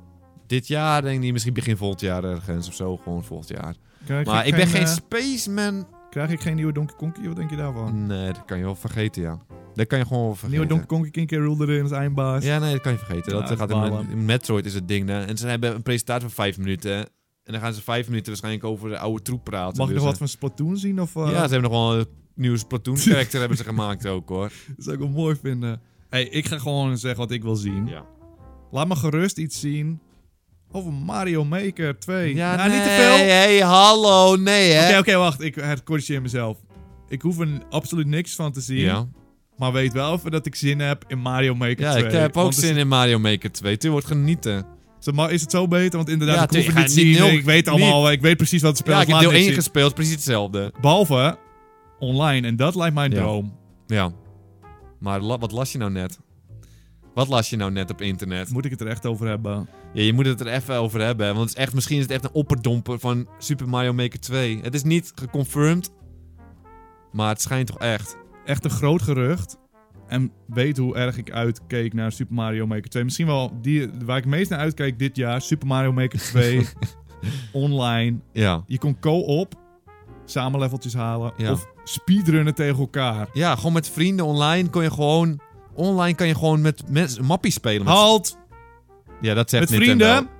[SPEAKER 2] Dit jaar denk ik niet, misschien begin volgend jaar ergens of zo. Gewoon volgend jaar.
[SPEAKER 1] Krijg
[SPEAKER 2] Maar ik ben geen
[SPEAKER 1] eh,
[SPEAKER 2] spaceman.
[SPEAKER 1] krijg ik geen nieuwe Donkey Kong? Wat denk je daarvan?
[SPEAKER 2] Nee, dat kan je wel vergeten, ja. Dat kan je gewoon wel vergeten.
[SPEAKER 1] Nieuwe Donkey Kong King Rule erin als eindbaas.
[SPEAKER 2] Ja, nee, dat kan je vergeten.
[SPEAKER 1] Ja,
[SPEAKER 2] dat gaat in-
[SPEAKER 1] balen.
[SPEAKER 2] in Metroid is het ding. Hè. En ze hebben een presentatie van vijf minuten. En dan gaan ze vijf minuten waarschijnlijk over de oude troep praten.
[SPEAKER 1] Mag ik
[SPEAKER 2] Dus,
[SPEAKER 1] nog wat van Splatoon zien? Of, eh,
[SPEAKER 2] eh, Ja, ze hebben nog wel een nieuwe
[SPEAKER 1] [laughs]
[SPEAKER 2] Splatoon-character hebben ze gemaakt ook, hoor.
[SPEAKER 1] Dat zou ik wel mooi vinden. hey, ik ga gewoon zeggen wat ik wil zien.
[SPEAKER 2] Ja.
[SPEAKER 1] Laat me gerust iets zien over Mario Maker 2.
[SPEAKER 2] Ja,
[SPEAKER 1] Nou, niet te
[SPEAKER 2] nee,
[SPEAKER 1] veel. Oké,
[SPEAKER 2] hey, hallo, nee, hè.
[SPEAKER 1] oké, wacht. Ik hercorrigeer mezelf. Ik hoef er absoluut niks van te zien.
[SPEAKER 2] Ja,
[SPEAKER 1] Maar weet wel even dat ik zin heb in Mario Maker
[SPEAKER 2] ja
[SPEAKER 1] 2.
[SPEAKER 2] ik heb ook
[SPEAKER 1] Want
[SPEAKER 2] zin in Mario Maker 2. Tu wordt genieten.
[SPEAKER 1] Is, is- is het zo beter? Want inderdaad,
[SPEAKER 2] Ja,
[SPEAKER 1] ik hoef het
[SPEAKER 2] tuurlijk,
[SPEAKER 1] niet
[SPEAKER 2] ik ga
[SPEAKER 1] zien.
[SPEAKER 2] niet-
[SPEAKER 1] ik weet allemaal, ik weet precies wat het spel
[SPEAKER 2] Ja,
[SPEAKER 1] is.
[SPEAKER 2] ik heb
[SPEAKER 1] laat
[SPEAKER 2] deel
[SPEAKER 1] me
[SPEAKER 2] 1
[SPEAKER 1] niks zien.
[SPEAKER 2] gespeeld, precies hetzelfde.
[SPEAKER 1] Behalve online. En dat lijkt mijn
[SPEAKER 2] Ja.
[SPEAKER 1] droom.
[SPEAKER 2] Ja. Maar la- wat las je nou net? Wat las je nou net op internet?
[SPEAKER 1] Moet ik het er echt over hebben?
[SPEAKER 2] Ja, je moet het er even over hebben. hè, Want het is echt, misschien is het echt een opperdomper van Super Mario Maker 2. Het is niet geconfirmed. Maar het schijnt toch echt.
[SPEAKER 1] Echt een groot gerucht. En weet hoe erg ik uitkeek naar Super Mario Maker 2. Misschien wel die, waar ik meest naar uitkeek dit jaar. Super Mario Maker
[SPEAKER 2] [laughs]
[SPEAKER 1] 2. online.
[SPEAKER 2] Ja.
[SPEAKER 1] Je kon co-op. Samen leveltjes halen.
[SPEAKER 2] Ja.
[SPEAKER 1] Of speedrunnen tegen elkaar.
[SPEAKER 2] Ja, gewoon met vrienden online kon je gewoon... Online kan je gewoon met mensen mappies spelen. Met-
[SPEAKER 1] Halt!
[SPEAKER 2] ja, dat zegt
[SPEAKER 1] Met
[SPEAKER 2] Nintendo.
[SPEAKER 1] vrienden?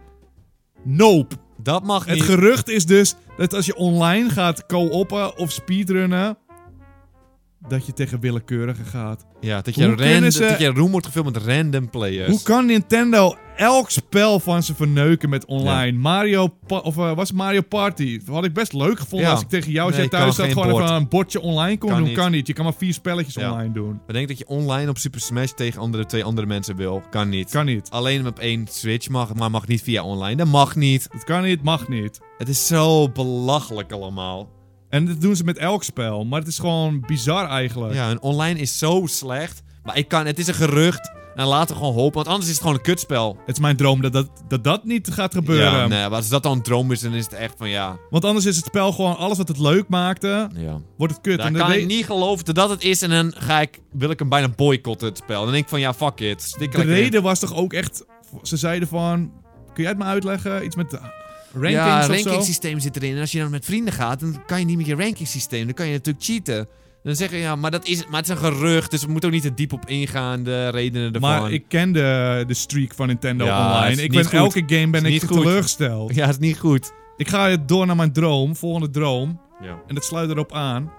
[SPEAKER 1] Nope.
[SPEAKER 2] Dat mag
[SPEAKER 1] Het
[SPEAKER 2] niet.
[SPEAKER 1] gerucht is dus dat als je online gaat co-oppen of speedrunnen... dat je tegen willekeurigen gaat.
[SPEAKER 2] ja, dat je,
[SPEAKER 1] Hoe
[SPEAKER 2] random,
[SPEAKER 1] kunnen ze-
[SPEAKER 2] dat je room wordt gevuld met random players.
[SPEAKER 1] Hoe kan Nintendo elk spel van ze verneuken met online? Mario Pa- of eh, was het Mario Party? Dat had ik best leuk gevonden
[SPEAKER 2] Ja.
[SPEAKER 1] als ik tegen jou als
[SPEAKER 2] Nee,
[SPEAKER 1] jij thuis
[SPEAKER 2] kan
[SPEAKER 1] zat
[SPEAKER 2] geen
[SPEAKER 1] gewoon
[SPEAKER 2] bord.
[SPEAKER 1] even een bordje online kon
[SPEAKER 2] Kan
[SPEAKER 1] doen.
[SPEAKER 2] niet.
[SPEAKER 1] Kan niet. Je kan maar vier spelletjes
[SPEAKER 2] Ja.
[SPEAKER 1] online doen.
[SPEAKER 2] Bedenk dat je online op Super Smash tegen andere, twee andere mensen wil. Kan niet.
[SPEAKER 1] Kan niet.
[SPEAKER 2] Alleen op één Switch mag, maar mag niet via online. Dat mag niet.
[SPEAKER 1] Dat kan niet, mag niet.
[SPEAKER 2] Het is zo belachelijk allemaal.
[SPEAKER 1] En dat doen ze met elk spel. Maar het is gewoon bizar eigenlijk.
[SPEAKER 2] Ja, en online is zo slecht. Maar ik kan, het is een gerucht. En laten we gewoon hopen, want anders is het gewoon een kutspel.
[SPEAKER 1] Het is mijn droom dat dat, dat, dat niet gaat gebeuren.
[SPEAKER 2] Ja, nee, maar als dat dan een droom is, dan is het echt van ja.
[SPEAKER 1] Want anders is het spel gewoon alles wat het leuk maakte,
[SPEAKER 2] ja.
[SPEAKER 1] wordt het kut.
[SPEAKER 2] Dan
[SPEAKER 1] en dat
[SPEAKER 2] kan
[SPEAKER 1] weet-
[SPEAKER 2] ik niet geloven dat dat het is en dan ga ik, wil ik hem bijna boycotten, het spel. Dan denk ik van ja, fuck it. Stik er
[SPEAKER 1] De
[SPEAKER 2] lekker in.
[SPEAKER 1] reden was toch ook echt... Ze zeiden van... Kun jij het me uitleggen? Iets met eh, rankings
[SPEAKER 2] ja,
[SPEAKER 1] of zo?
[SPEAKER 2] rankingsysteem zit erin. En als je dan met vrienden gaat, dan kan je niet met je rankingsysteem. Dan kan je natuurlijk cheaten. Dan zeggen we, ja, maar, dat is, maar het is een gerucht, dus we moeten ook niet te diep op ingaan, de redenen ervan.
[SPEAKER 1] Maar ik ken de, de streak van Nintendo
[SPEAKER 2] Ja, het
[SPEAKER 1] online.
[SPEAKER 2] is
[SPEAKER 1] Ik
[SPEAKER 2] niet
[SPEAKER 1] ben
[SPEAKER 2] goed.
[SPEAKER 1] elke game ben
[SPEAKER 2] Het
[SPEAKER 1] ik
[SPEAKER 2] is niet goed. [laughs]
[SPEAKER 1] teleurgesteld.
[SPEAKER 2] [laughs] Ja, het is niet goed.
[SPEAKER 1] Ik ga het door naar mijn droom, volgende droom.
[SPEAKER 2] Ja.
[SPEAKER 1] En dat sluit erop aan.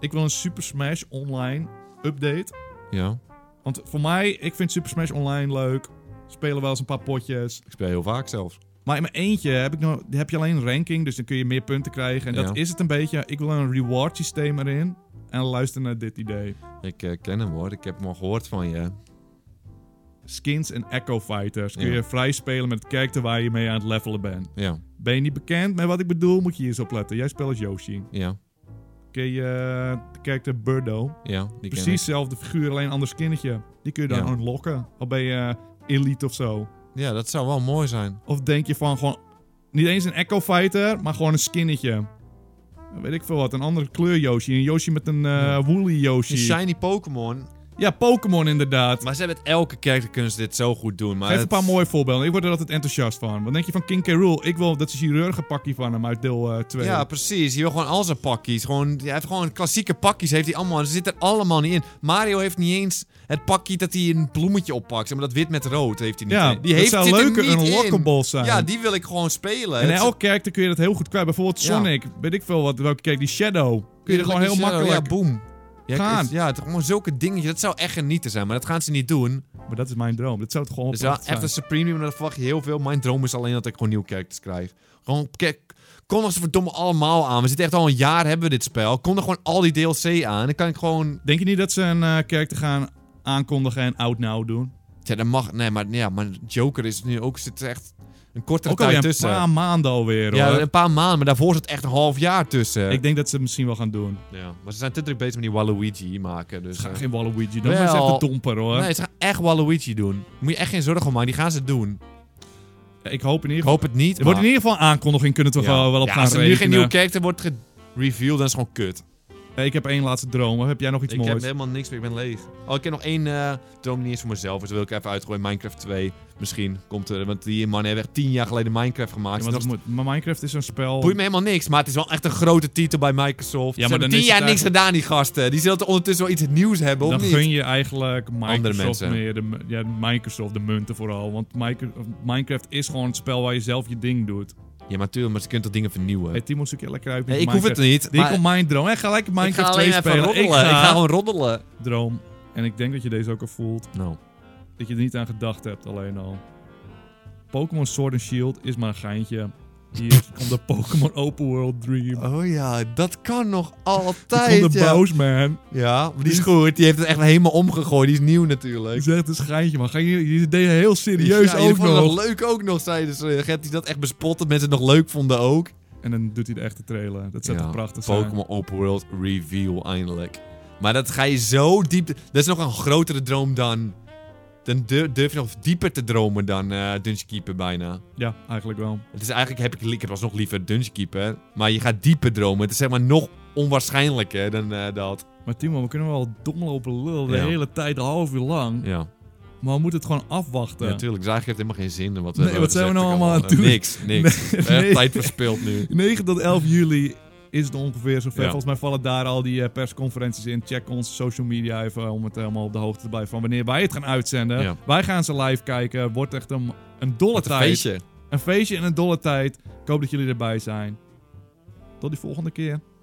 [SPEAKER 1] Ik wil een Super Smash Online update.
[SPEAKER 2] Ja,
[SPEAKER 1] Want voor mij, ik vind Super Smash Online leuk. Spelen wel eens een paar potjes.
[SPEAKER 2] ik speel heel vaak zelfs.
[SPEAKER 1] Maar in mijn eentje heb, ik nog, heb je alleen ranking, dus dan kun je meer punten krijgen. En dat
[SPEAKER 2] Ja.
[SPEAKER 1] is het een beetje. Ik wil een reward systeem erin. En luister naar dit idee.
[SPEAKER 2] Ik eh, ken hem hoor, ik heb hem al gehoord van je.
[SPEAKER 1] Skins en Echo Fighters. Kun
[SPEAKER 2] Ja.
[SPEAKER 1] je vrij spelen met het character waar je mee aan het levelen bent.
[SPEAKER 2] Ja,
[SPEAKER 1] Ben je niet bekend met wat ik bedoel, moet je hier eens op letten. Jij speelt als Yoshi.
[SPEAKER 2] ja,
[SPEAKER 1] Ken je eh, de character Birdo?
[SPEAKER 2] ja. Die
[SPEAKER 1] Precies
[SPEAKER 2] Ken ik.
[SPEAKER 1] hetzelfde figuur, alleen een ander skinnetje. Die kun je dan
[SPEAKER 2] Ja.
[SPEAKER 1] unlocken. Al ben je eh, elite of zo.
[SPEAKER 2] Ja, dat zou wel mooi zijn.
[SPEAKER 1] Of denk je van gewoon... Niet eens een Echo Fighter, maar gewoon een skinnetje. Weet ik veel wat. Een andere kleur Yoshi. Een Yoshi met een eh woolly Yoshi.
[SPEAKER 2] Een shiny Pokémon.
[SPEAKER 1] Ja, Pokémon inderdaad.
[SPEAKER 2] Maar ze hebben het elke kerk die kunnen ze dit zo goed doen. Maar
[SPEAKER 1] Geef een
[SPEAKER 2] het-
[SPEAKER 1] paar mooie voorbeelden. Ik word er altijd enthousiast van. Wat denk je van King K. Rool? Ik wil dat chirurgenpakje van hem uit deel eh, 2.
[SPEAKER 2] Ja, precies. Je wil gewoon al zijn pakjes. Gewoon, hij heeft gewoon klassieke pakjes. Heeft hij allemaal. Ze zitten er allemaal niet in. Mario heeft niet eens het pakje dat hij een bloemetje oppakt. Zeg maar dat wit met rood heeft hij niet.
[SPEAKER 1] Ja,
[SPEAKER 2] in.
[SPEAKER 1] dat
[SPEAKER 2] die heeft,
[SPEAKER 1] zou
[SPEAKER 2] zit er
[SPEAKER 1] leuke
[SPEAKER 2] niet in.
[SPEAKER 1] unlockables zijn.
[SPEAKER 2] Ja, die wil ik gewoon spelen.
[SPEAKER 1] en in
[SPEAKER 2] Het-
[SPEAKER 1] elk character kun je dat heel goed kwijt. Bijvoorbeeld
[SPEAKER 2] Ja.
[SPEAKER 1] Sonic. Weet ik veel wat, welke kijk die Shadow. Kun je er gewoon heel
[SPEAKER 2] Ja,
[SPEAKER 1] makkelijk...
[SPEAKER 2] Ja, boom. Ja,
[SPEAKER 1] Gaan.
[SPEAKER 2] het- ja, het- gewoon zulke dingetjes. Dat zou echt genieten zijn, maar dat gaan ze niet doen.
[SPEAKER 1] maar dat is mijn droom. Dat zou het gewoon
[SPEAKER 2] Dus ja,
[SPEAKER 1] oprecht zijn.
[SPEAKER 2] After Supreme, maar dan verwacht je heel veel. Mijn droom is alleen dat ik gewoon nieuwe characters krijg. Gewoon, kijk, kondig ze verdomme allemaal aan. We zitten echt al een jaar hebben we dit spel. Kondig gewoon al die DLC aan. Dan kan ik gewoon...
[SPEAKER 1] Denk je niet dat ze een eh character gaan aankondigen en out now doen?
[SPEAKER 2] Ja, dan mag... Nee, maar, ja, maar Joker is nu ook... Zit er echt een kortere
[SPEAKER 1] Ook alweer
[SPEAKER 2] tijd
[SPEAKER 1] een
[SPEAKER 2] tussen.
[SPEAKER 1] paar maanden alweer hoor.
[SPEAKER 2] ja, een paar maanden, maar daarvoor zit echt een half jaar tussen.
[SPEAKER 1] Ik denk dat ze het misschien wel gaan doen.
[SPEAKER 2] ja, maar ze zijn te druk bezig met die Waluigi maken. Dus,
[SPEAKER 1] Ze gaan
[SPEAKER 2] eh.
[SPEAKER 1] geen Waluigi doen.
[SPEAKER 2] Wel.
[SPEAKER 1] Dat is echt een domper hoor.
[SPEAKER 2] Nee, ze gaan echt Waluigi doen. Moet je echt geen zorgen om maken, die gaan ze doen.
[SPEAKER 1] Ik hoop in ieder
[SPEAKER 2] Ik
[SPEAKER 1] geval...
[SPEAKER 2] hoop het niet.
[SPEAKER 1] Er wordt in ieder geval een aankondiging kunnen we toch wel- wel op gaan
[SPEAKER 2] Als er nu geen
[SPEAKER 1] rekenen.
[SPEAKER 2] nieuwe character wordt gereveeld, dan is het gewoon kut.
[SPEAKER 1] Hey, ik heb één laatste droom. Heb jij nog iets
[SPEAKER 2] ik
[SPEAKER 1] moois?
[SPEAKER 2] heb helemaal niks meer, ik ben leeg. Oh, ik heb nog één eh droom niet eens voor mezelf, dus dat wil ik even uitgooien. Minecraft 2, misschien komt er. Want die mannen hebben echt tien jaar geleden Minecraft
[SPEAKER 1] Ja,
[SPEAKER 2] gemaakt.
[SPEAKER 1] want
[SPEAKER 2] Het is
[SPEAKER 1] het
[SPEAKER 2] nog-
[SPEAKER 1] moet- maar Minecraft is een spel.
[SPEAKER 2] Boeit me helemaal niks, maar het is wel echt een grote titel bij Microsoft.
[SPEAKER 1] Ja,
[SPEAKER 2] Ze
[SPEAKER 1] maar
[SPEAKER 2] hebben
[SPEAKER 1] dan
[SPEAKER 2] tien
[SPEAKER 1] is het
[SPEAKER 2] jaar niks gedaan, die gasten. Die zullen ondertussen wel iets nieuws hebben,
[SPEAKER 1] dan
[SPEAKER 2] of niet?
[SPEAKER 1] gun je eigenlijk Microsoft
[SPEAKER 2] mensen.
[SPEAKER 1] meer. De, mu- ja, Microsoft, de munten vooral. Want Micro- of Minecraft is gewoon het spel waar je zelf je ding doet.
[SPEAKER 2] Ja, maar tuurlijk, maar ze kunnen toch dingen vernieuwen?
[SPEAKER 1] Hey, Timo, zoek je lekker uit. met
[SPEAKER 2] Nee, ik hoef het
[SPEAKER 1] Minecraft.
[SPEAKER 2] niet, maar
[SPEAKER 1] Dit komt mijn droom. Hey, ga lekker
[SPEAKER 2] ik ga
[SPEAKER 1] Minecraft
[SPEAKER 2] alleen
[SPEAKER 1] 2
[SPEAKER 2] even
[SPEAKER 1] spelen.
[SPEAKER 2] roddelen.
[SPEAKER 1] Ik ga,
[SPEAKER 2] gewoon roddelen.
[SPEAKER 1] droom. En ik denk dat je deze ook al voelt.
[SPEAKER 2] Nou,
[SPEAKER 1] Dat je er niet aan gedacht hebt alleen al. Pokémon Sword and Shield is maar een geintje.
[SPEAKER 2] [laughs]
[SPEAKER 1] Hier komt de Pokémon Open World Dream.
[SPEAKER 2] Oh ja, dat kan
[SPEAKER 1] [laughs]
[SPEAKER 2] nog
[SPEAKER 1] Hier
[SPEAKER 2] altijd.
[SPEAKER 1] komt de
[SPEAKER 2] Ja.
[SPEAKER 1] boos man.
[SPEAKER 2] ja, maar die is goed. Die heeft het echt helemaal omgegooid. Die is nieuw
[SPEAKER 1] Ik
[SPEAKER 2] natuurlijk.
[SPEAKER 1] zeg het is een geintje, man. Ga je, je deed heel serieus
[SPEAKER 2] ja,
[SPEAKER 1] ook
[SPEAKER 2] vond het
[SPEAKER 1] nog.
[SPEAKER 2] nog leuk ook nog, zeiden ze. Gert die dat echt bespot, dat mensen het nog leuk vonden ook.
[SPEAKER 1] En dan doet hij de echte trailer. Dat zou
[SPEAKER 2] Ja,
[SPEAKER 1] toch prachtig zijn.
[SPEAKER 2] Pokémon Open World Reveal eindelijk. Maar dat ga je zo diep... Dat is nog een grotere droom dan... Dan dur- durf je nog dieper te dromen dan eh Dungeon Keeper bijna.
[SPEAKER 1] Ja, eigenlijk wel.
[SPEAKER 2] Het is eigenlijk... Heb ik, li- ik heb alsnog liever Dungeon Keeper. Maar je gaat dieper dromen. Het is zeg maar nog onwaarschijnlijker dan eh, dat.
[SPEAKER 1] Maar Timo, we kunnen wel dom lopen lullen de
[SPEAKER 2] Ja.
[SPEAKER 1] hele tijd, een half uur lang.
[SPEAKER 2] Ja.
[SPEAKER 1] Maar we moeten het gewoon afwachten.
[SPEAKER 2] Natuurlijk, dus eigenlijk heeft het helemaal geen zin in wat we
[SPEAKER 1] Nee,
[SPEAKER 2] hebben
[SPEAKER 1] wat zijn we
[SPEAKER 2] gezegd.
[SPEAKER 1] nou allemaal aan het
[SPEAKER 2] Eh,
[SPEAKER 1] doen?
[SPEAKER 2] Niks, niks.
[SPEAKER 1] Nee,
[SPEAKER 2] We hebben
[SPEAKER 1] [laughs] nee.
[SPEAKER 2] tijd verspild nu.
[SPEAKER 1] 9 tot 11 juli is het ongeveer zover.
[SPEAKER 2] Ja.
[SPEAKER 1] Volgens mij vallen daar al die eh, persconferenties in. Check onze social media even eh, om het helemaal op de hoogte te blijven van wanneer wij het gaan uitzenden.
[SPEAKER 2] Ja.
[SPEAKER 1] Wij gaan ze live kijken. Wordt echt een, een dolle
[SPEAKER 2] Wat een
[SPEAKER 1] tijd.
[SPEAKER 2] feestje.
[SPEAKER 1] Een feestje en een dolle tijd. Ik hoop dat jullie erbij zijn. Tot die volgende keer.